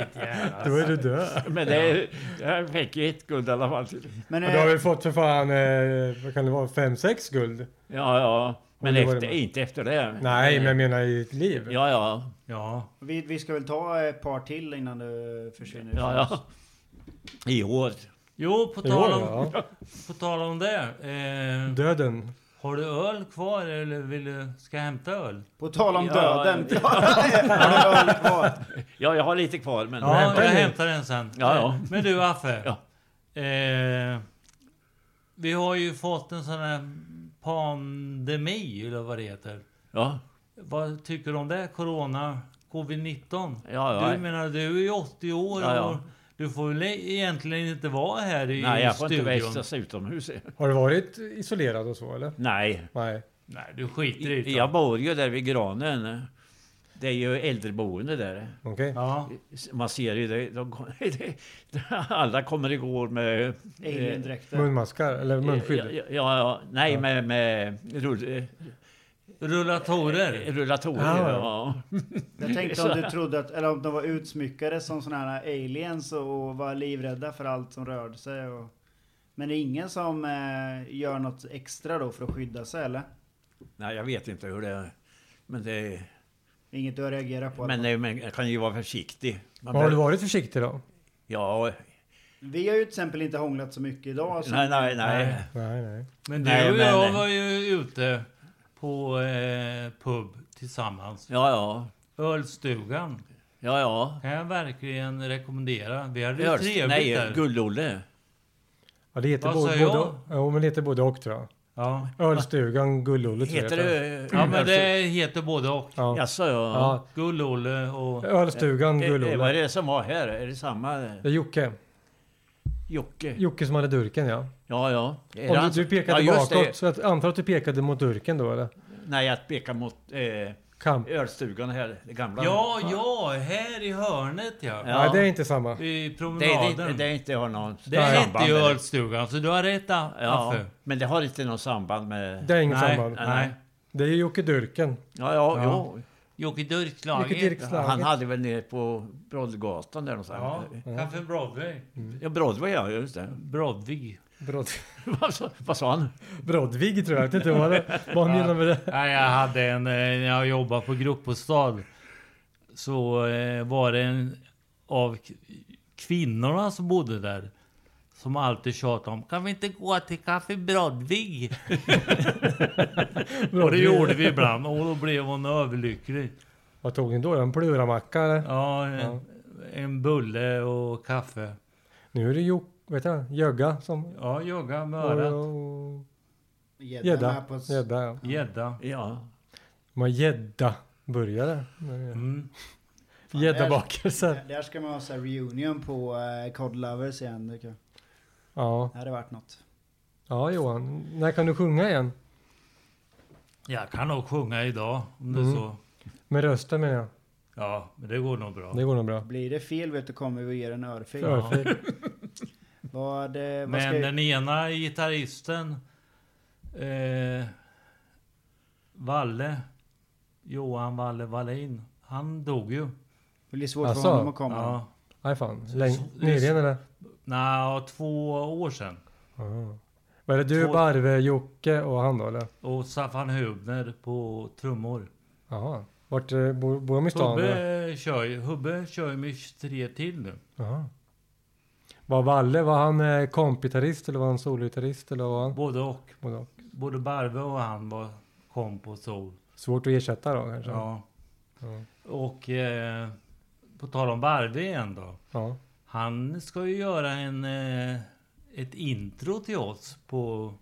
C: Då är du död.
E: Men det, jag fick ju ett guld i alla fall.
D: Men,
C: Och du har
D: eh,
C: väl fått för fan, eh, vad kan det vara, fem, sex guld?
E: Ja, ja. Men
C: det var det
E: efter,
C: med.
E: inte efter det.
C: Nej, men jag menar i ditt liv.
E: Ja, ja.
B: Ja,
D: vi, vi ska väl ta ett par till innan du försvinner.
E: ja, ja. I år.
B: Jo, på
C: Jo,
B: tal om,
C: ja.
B: på tal om det. Eh,
C: Döden.
B: har du öl kvar eller vill du, ska jag hämta öl?
D: På tal om
E: Ja,
D: döden. <laughs> Har du öl kvar?
E: Ja, jag har lite kvar, men...
B: Ja,
C: hämtar
B: jag
C: den.
B: hämtar den sen.
E: Ja, ja.
B: Men du Affe.
E: Ja.
B: Eh, vi har ju fått en sån här pandemi, eller vad det heter.
E: Ja,
B: Vad tycker du om det? Corona, covid-19?
E: ja.
B: Du
E: ja.
B: menar, du är ju 80 år
E: Ja, ja.
B: och du får väl egentligen inte vara här i
E: Nej, jag får inte
B: studion?
E: vistas utomhus.
C: Har du varit isolerad och så eller?
E: Nej.
C: Nej.
B: Nej, du skiter i det.
E: Jag bor ju där vid granen. Det är ju äldreboende där.
C: Okej.
B: Ja.
E: Man ser ju <laughs> det. De, alla kommer igår med... eh,
D: Alien-dräkter.
C: Munmaskar eller munskydd.
E: Ja, ja, ja, nej, med, med rull, eh,
B: Rullatorer.
E: rullatorer.
C: Ah,
E: ja.
D: Jag tänkte om du trodde att, eller om de var utsmyckade som sådana här aliens och var livrädda för allt som rörde sig. Och... Men det är ingen som eh, gör något extra då för att skydda sig eller?
E: Nej, jag vet inte hur det är. Men, det,
D: Inget du har reagerat på?
E: men det, man kan ju vara försiktig. Man
C: Men har du
E: bör-
C: varit försiktig då?
E: Ja,
D: Vi har ju till exempel inte hånglat så mycket idag. Så
E: nej, nej, nej.
C: Nej, nej.
B: Men du
E: Nej,
B: och
E: men-
B: jag var ju ute på eh, pub tillsammans.
E: Ja, ja.
B: Ölstugan
E: Ja, ja.
B: kan jag verkligen rekommendera. Vi hade ju
E: Hörst,
B: trevligt
E: nej,
B: där.
E: Gull-Olle.
C: Ja, det heter
B: Vad
C: både,
B: sa
C: både, jo, men det heter både och tror jag.
B: Ja.
C: Ölstugan, Gullulle tror jag
E: Heter det...
B: ja, men det heter både och.
C: Ja.
E: Jaså, ja.
C: Ja.
B: Gull-Olle och...
C: Ölstugan,
E: Eh, eh, Vad är
C: Gullulle.
E: det som var här? Är det samma? eh,
C: Det är Jocke.
E: Jocke?
C: Jocke som hade durken ja.
E: Ja, ja. Är det
C: Om
E: han
C: du,
E: som-
C: du pekade
E: ja, just
C: bakåt, så jag antar att du pekade mot durken då eller?
E: Det. Nej, jag pekar mot eh,
C: Kamp.
E: ölstugan här, det gamla.
B: Ja, ja, här i hörnet ja.
E: Ja.
C: Nej, det är inte samma.
B: I
E: Det,
B: promenaden.
E: det, det inte har någon
B: Det hette
E: samband
B: ju
E: med det.
B: ölstugan, så du har rätt A-
E: Ja,
B: Affe.
E: men det har inte något samband med...
C: Det är inget
B: Nej,
C: samband.
B: nej.
C: Det är ju Jocke Durken.
E: Ja, ja,
B: Ja.
E: Jo.
B: Jocke
C: Jocke
B: Dirkslaget.
C: Dirkslaget.
E: Han hade väl nere på Broadgatan där
B: Ja,
E: någonstans.
B: Café Broadway.
E: Ja, Broadway ja, just det. <laughs>
B: Broadway.
C: Brod,
E: vad, sa, vad sa han?
C: Brodvig tror jag. jag. vet inte vad det- Vad han menar med det.
B: Nej, jag hade en, eh, när jag jobbade på gruppbostad så eh, var det en av k- kvinnorna som bodde där som alltid tjatade om kan vi inte gå till Café Brodvig? och det gjorde vi ibland och <laughs> då blev hon överlycklig.
C: Vad tog ni då? En pluramacka eller?
B: Ja, en, en bulle och kaffe.
C: Nu är det Jocke, vet jag, Jögga som...
B: Ja, jogga med
C: och-
B: örat.
C: och-
D: Gädda med
C: Gädda.
D: på ett-
C: Gädda ja.
B: Gädda.
E: Ja.
C: Man gädda burgare.
B: Mm.
C: Gäddabakelser.
D: Där ska man ha så här reunion på eh, Cod Lovers igen. tycker jag.
C: Ja.
D: Det hade varit något.
C: ja, Johan. När kan du sjunga igen?
B: Jag kan nog sjunga idag om det
C: Mm.
B: är så.
C: Med rösten menar jag.
B: Ja, men det går nog bra.
C: Det går nog bra.
D: Blir det fel vet du kommer vi ge en örfil.
B: Ja.
C: Örfil.
D: Vad, eh, vad ska
B: Men
D: jag...
B: den ena gitarristen, eh, Valle, Johan Valle Wallin, han dog ju.
D: Det blir svårt
C: Asså?
D: för honom att komma.
B: Ja.
C: Nej fan.
B: Så-
C: Läng...
B: så-
C: Nyligen eller?
B: Nå, två år sedan.
C: Ah. Var det du,
B: Två-
C: Barve, Jocke och han då eller?
B: Och Staffan Hubner på trummor.
C: Jaha. Vart eh, bor, bor de i stan eller?
B: Hubbe kör, ju- Hubbe kör ju med 23 till nu.
C: Jaha. Var Valle, var han eh, kompgitarrist eller var han sologitarrist eller vad var han?
B: Både och.
C: Både och.
B: Både Barve och han var komp och sol.
C: Svårt att ersätta då kanske?
B: Ja.
C: Ja.
B: Och eh, på tal om Barve igen då.
C: ja.
B: Han ska ju göra en, eh, ett intro till oss på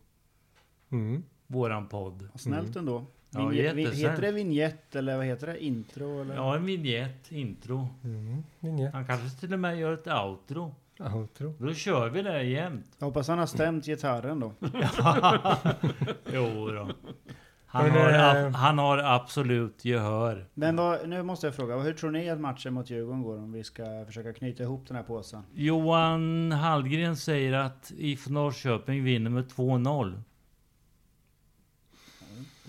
C: Mm.
B: våran podd.
D: Vad Snällt ändå.
B: Ja,
D: Vignett- vi-
B: jättesnällt.
D: heter det vignett eller vad heter det? Intro eller?
B: Ja, en vignett, intro.
C: Mm. Vinjett.
B: Han kanske till och med gör ett outro.
C: Outro.
B: Då kör vi det jämt.
D: Jag hoppas han har stämt gitarren då.
B: Jo då. Han,
C: Men,
B: har,
C: eh,
B: ab- han har absolut gehör.
D: Men vad, nu måste jag fråga, hur tror ni att matchen mot Djurgården går om vi ska försöka knyta ihop den här påsen?
B: Johan Hallgren säger att IF Norrköping vinner med 2-0.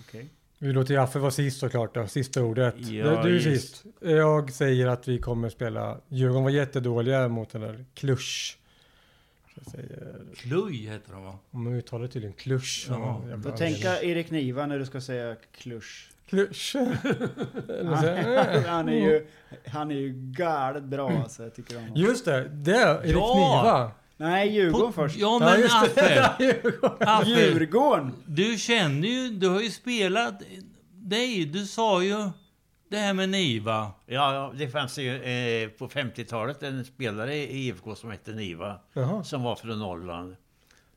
D: Okej.
C: Vi låter Jaffe vara sist såklart då, sista ordet.
E: Ja,
C: du är
E: just.
C: sist. Jag säger att vi kommer spela, Djurgården var jättedåliga mot den där Klusch. Så Jag säger,
B: Kluj heter de va?
C: om man uttalar tydligen Klusch.
B: Ja,
C: av någon jävla
D: Får
C: anledning.
D: tänka Erik Niva när du ska säga klusch.
C: Klusch. Eller så
D: <laughs>
C: här, äh.
D: han, är ju, han är ju galet bra alltså, jag tycker om honom.
C: Just det, det är Erik
B: Ja!
C: Niva.
D: Nej, Djurgården först.
B: Ja men
C: just det. <laughs>
B: Affe!
C: Djurgården.
B: Affe!
D: Djurgården!
B: Du känner ju, du har ju spelat dig. Du sa ju det här med Niva.
E: Ja, ja, det fanns ju eh, på 50-talet en spelare i IFK som hette Niva.
C: Jaha.
E: Som var från Norrland.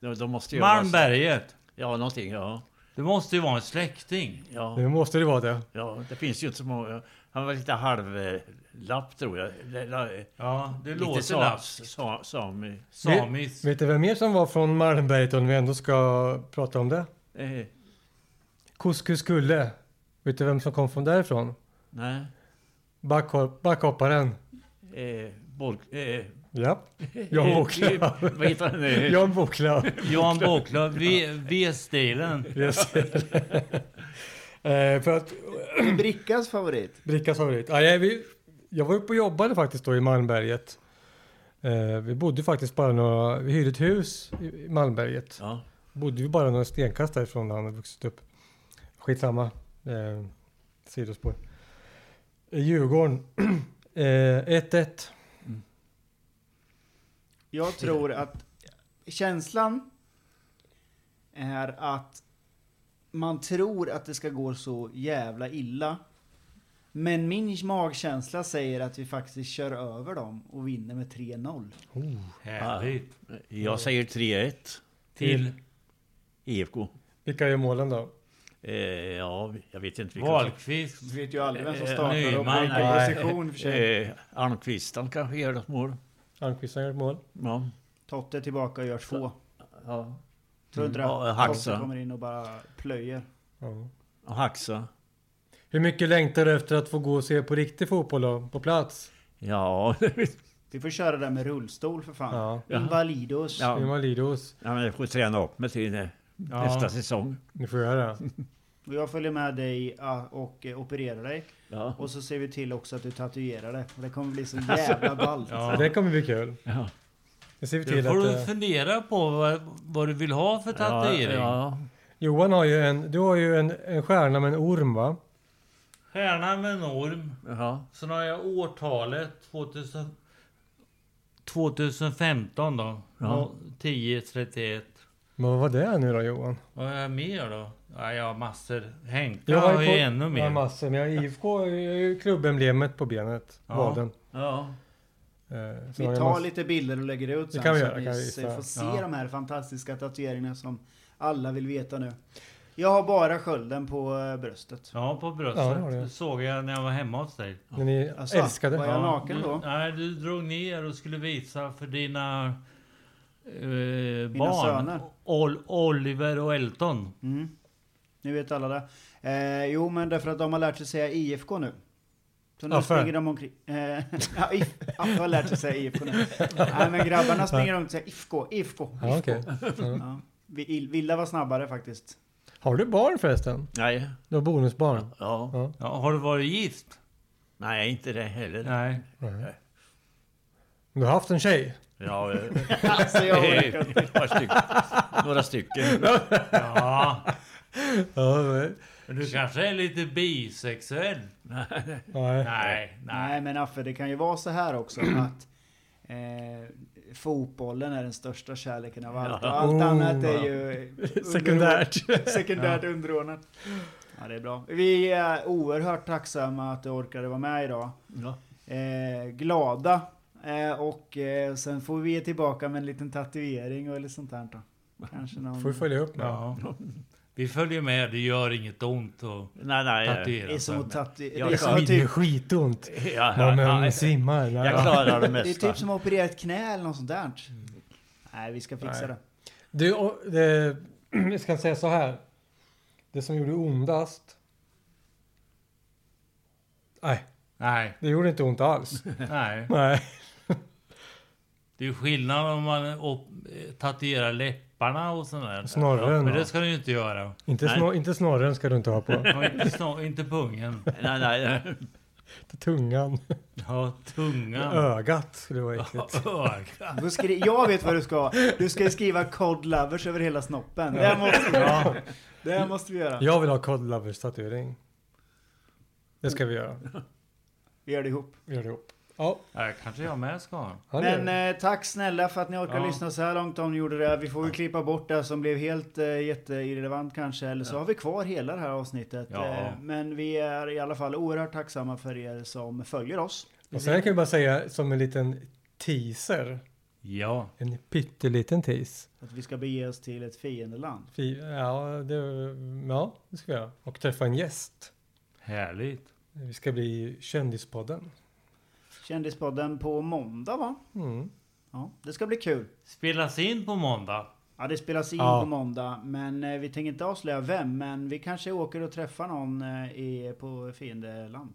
E: De, de måste ju Vara,
B: Malmberget.
E: ja, någonting. Ja,
B: Det måste ju vara en släkting.
E: ja,
C: Nu måste det vara det.
E: ja, det finns ju inte så många. Han var lite halvlapp tror jag. Eller, eller,
B: Ja, det
E: lite
B: låter
E: sa-
B: sa-
E: sa- sami.
B: samiskt.
C: Vet du vem mer som var från Malmberget om vi ändå ska prata om det?
E: Eh,
C: Couscous Kulle. Vet du vem som kom från därifrån?
E: nej.
C: Backhopp- Backhopparen.
E: Eh, Borg, eh,
C: Ja.
E: <laughs>
C: Jan Boklöv.
E: Vad heter
C: <laughs>
E: han nu?
C: Jan Boklöv.
B: Johan Boklöv, V- V-stilen.
C: Yes. eh, för att
D: Det är Brickas favorit.
C: Brickas favorit. Ah, jag, vi, jag var uppe och jobbade faktiskt då i Malmberget. Eh, vi bodde faktiskt bara några, vi hyrde ett hus i i Malmberget.
E: Ja,
C: Bodde ju bara några stenkast därifrån när han hade vuxit upp. Skitsamma. Eh, sidospår. Eh, Djurgården. <clears throat> Eh, 1-1.
D: Jag tror att känslan är att man tror att det ska gå så jävla illa. Men min magkänsla säger att vi faktiskt kör över dem och vinner med 3-0.
B: Härligt.
E: jag säger 3-1
B: Till
E: IFK.
C: Vilka är målen då?
E: Eh, ja, jag vet inte vilka.
B: Valkvist.
D: Du vet ju aldrig vem som
B: Eh,
D: startar och
B: Nyman,
D: vilken
C: nej.
D: position för
E: som-
D: sig.
E: Eh, Almqvistan kanske gör något mål.
C: Almqvist har gjort mål.
E: Ja.
D: Totte tillbaka och gör två.
E: ja.
D: Tror inte det?
E: Ja, Haxa.
D: Totte kommer in och bara plöjer.
C: Ja.
E: Och Haxa.
C: Hur mycket längtar du efter att få gå och se på riktig fotboll då? På plats?
E: Ja,
D: Vi får köra det där med rullstol för fan.
C: Ja.
D: Invalidos.
E: Ja.
C: Invalidos.
E: ja men jag får träna upp mig till eh,
B: Ja.
E: nästa säsong.
C: Nu får jag göra.
D: Och jag följer med dig ah, och eh, opererar dig.
E: Ja.
D: Och så ser vi till också att du tatuerar det. Och Det kommer bli så jävla ballt.
B: Ja.
C: Det kommer bli kul.
E: Ja.
C: Det ser vi
B: Det
C: till
B: får
C: att...
B: du
C: eh,
B: fundera på vad, vad du vill ha för tatuering.
E: Ja,
C: Johan har ju en... Du har ju en, en stjärna med en orm va?
B: Stjärna med en orm.
E: ja. ja.
B: Sen har jag årtalet 2000, 2015 då.
E: Ja.
B: 10.31.
C: Men vad var det nu då Johan?
B: Vad har jag mer då? Ja, jag har massor. Henke
C: har
B: har ju
C: på-
B: ännu
C: Jag har
B: mer.
C: massor, men jag har IFK, jag har ju klubbemblemet på benet.
B: Ja.
C: Vaden.
E: ja.
C: Eh, så har
D: Vi
C: jag
D: tar
C: massor-
D: lite bilder och lägger ut sen.
C: kan vi
D: så
C: göra,
D: att
C: kan vi
D: ni
C: visa.
D: se- får se
B: Ja.
D: de här fantastiska tatueringarna som alla vill veta nu. Jag har bara skölden på eh, bröstet.
B: Ja, på
C: Ja,
B: bröstet.
C: det har du.
B: Det såg jag när jag var hemma hos dig.
C: När ni
D: Alltså,
C: älskade.
D: vad jag- Är
B: Ja, Mm.
D: naken
B: du,
D: då?
B: Nej, du drog ner och skulle visa för dina eh, barn.
D: söner.
B: Ol- Oliver och Elton.
D: Mm. Nu vet alla det. Eh, jo, men därför att de har lärt sig säga IFK nu. Så nu
C: Affe.
D: springer de omkring... Eh, <laughs> ja, if, Affe har lärt sig säga IFK nu. Nej, men grabbarna springer omkring och säger IFK, IFK, IFK.
C: Ja, okej.
D: Ja. Vi- Vilda var snabbare faktiskt.
C: Har du barn förresten?
E: Nej,
C: Du har bonusbarn?
E: ja,
C: Ja.
B: Ja, har du varit gift?
E: nej, inte det heller.
B: Nej.
C: Du har haft en tjej?
E: Ja, eh,
D: Alltså, jag
E: eh,
D: orkar inte.
E: ett par styck- några stycken.
B: Ja,
C: Ja, nej.
B: men du kanske är lite bisexuell?
C: nej.
B: Nej, nej.
D: Nej, men Affe, det kan ju vara så
C: <clears throat>
D: här också att eh, fotbollen är den största kärleken av allt. Och allt
C: Oh,
D: annat
C: ja. <laughs>
D: är ju...
C: Sekundärt.
D: <laughs> Sekundärt underordnat. Ja, det är bra. Vi är oerhört tacksamma att du orkade vara med idag.
E: Ja.
D: Eh, glada. Eh, och eh, sen får vi ge tillbaka med en liten tatuering eller sånt där då. Kanske någon...
C: Får vi följa upp nu?
B: Ja. Vi följer med, det gör inget ont att
E: Nej, nej. eh,
D: det är
B: tatuera
D: som
B: sig.
D: att tatuera.
E: Ja,
D: det, är
E: det
D: som
E: är
D: att
C: Det är
D: typ,
C: skitont.
E: Ja,
C: Ja, men
E: ja,
C: hon svimmar.
E: jag
C: Ja.
E: klarar det
D: det är
E: mesta.
D: typ som att operera ett knä eller något sånt där. Nej, vi ska fixa
C: Nej.
D: det.
C: Du, och det, jag ska säga så här. Det som gjorde ondast. Nej,
B: Nej,
C: det gjorde inte ont alls.
B: nej.
C: <laughs> Nej.
B: Det är ju skillnad om man op- eh, tatuerar läpparna och sånt där.
C: Snorren,
B: Men
C: ja.
B: det ska du ju inte göra.
C: Inte,
E: Nej.
C: snor, inte snorren ska du inte ha på.
B: Och inte, snor- inte pungen.
E: Nej, nej. nej.
C: Inte <laughs> tungan.
B: Ja, tungan.
C: Ögat skulle vara äckligt.
B: Öga.
D: Du får skri- jag vet vad du ska. Du ska skriva Cod Lovers över hela snoppen. Det här måste vi, det här måste vi göra.
C: <laughs> Jag vill ha Cod Lovers tatuering. Det ska vi göra.
D: Vi gör det ihop.
C: Vi gör det ihop. Ja,
B: Ja, kanske jag med ska ha.
C: han gör
D: Men
C: det.
D: eh, tack snälla för att ni orkar
B: Ja.
D: lyssna så här långt om ni gjorde det. Vi får väl klippa bort det som blev helt eh, jätteirrelevant kanske. Eller så har vi kvar hela det här avsnittet.
B: Ja.
D: Eh, men vi är i alla fall oerhört tacksamma för er som följer oss.
E: eh,
C: Och sen kan jag bara säga som en liten teaser.
B: Ja.
C: En pytteliten tease.
D: Att vi ska bege oss till ett fiendeland.
C: Fi- Ja det, ja, det ska vi göra. Och träffa en gäst.
B: Härligt.
C: Vi ska bli Kändispodden.
D: Kändispodden på måndag va?
C: Mm.
D: Ja, det ska bli kul.
B: Spelas in på måndag.
D: Ja, det spelas in
C: Ja.
D: på måndag, men eh, vi tänker inte avslöja vem. Men vi kanske åker och träffar någon eh, i, på fiendeland.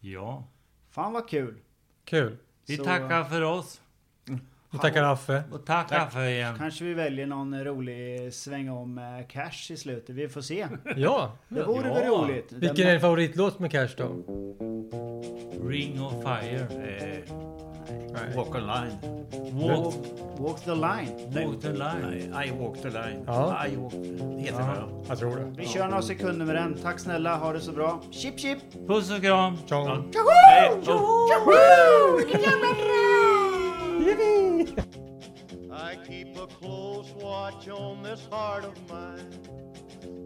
B: Ja.
D: Fan vad kul!
C: Kul.
B: Vi
D: Så-
B: tackar för oss.
C: Vi tackar Affe.
B: Och tack, för igen.
D: Kanske vi väljer någon eh, rolig sväng om eh, cash i slutet. Vi får se.
C: Ja.
D: Det vore väl
B: Ja.
D: roligt.
C: Vilken är din favoritlåt med Cash då?
B: Ring of fire.
E: Eh,
C: Nej.
E: Walk online.
B: Walk,
D: Walk the line.
B: walk the line.
E: Nej, I walk the line.
C: Ja.
E: I walk... Heter det, ja.
C: Jag tror det.
D: Vi kör några sekunder med den. Tack snälla, ha det så bra. Chip chip!
B: Puss och kram.
C: Tjong.
B: Hej. Oh.
F: I keep a close watch on this heart of mine.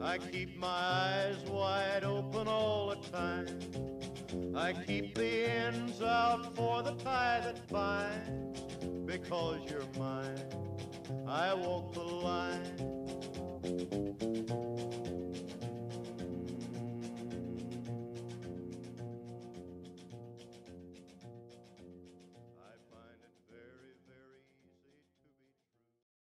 F: I keep my eyes wide open all the time. I keep the ends out for the tie that binds. Because you're Mm. mine, I walk the line.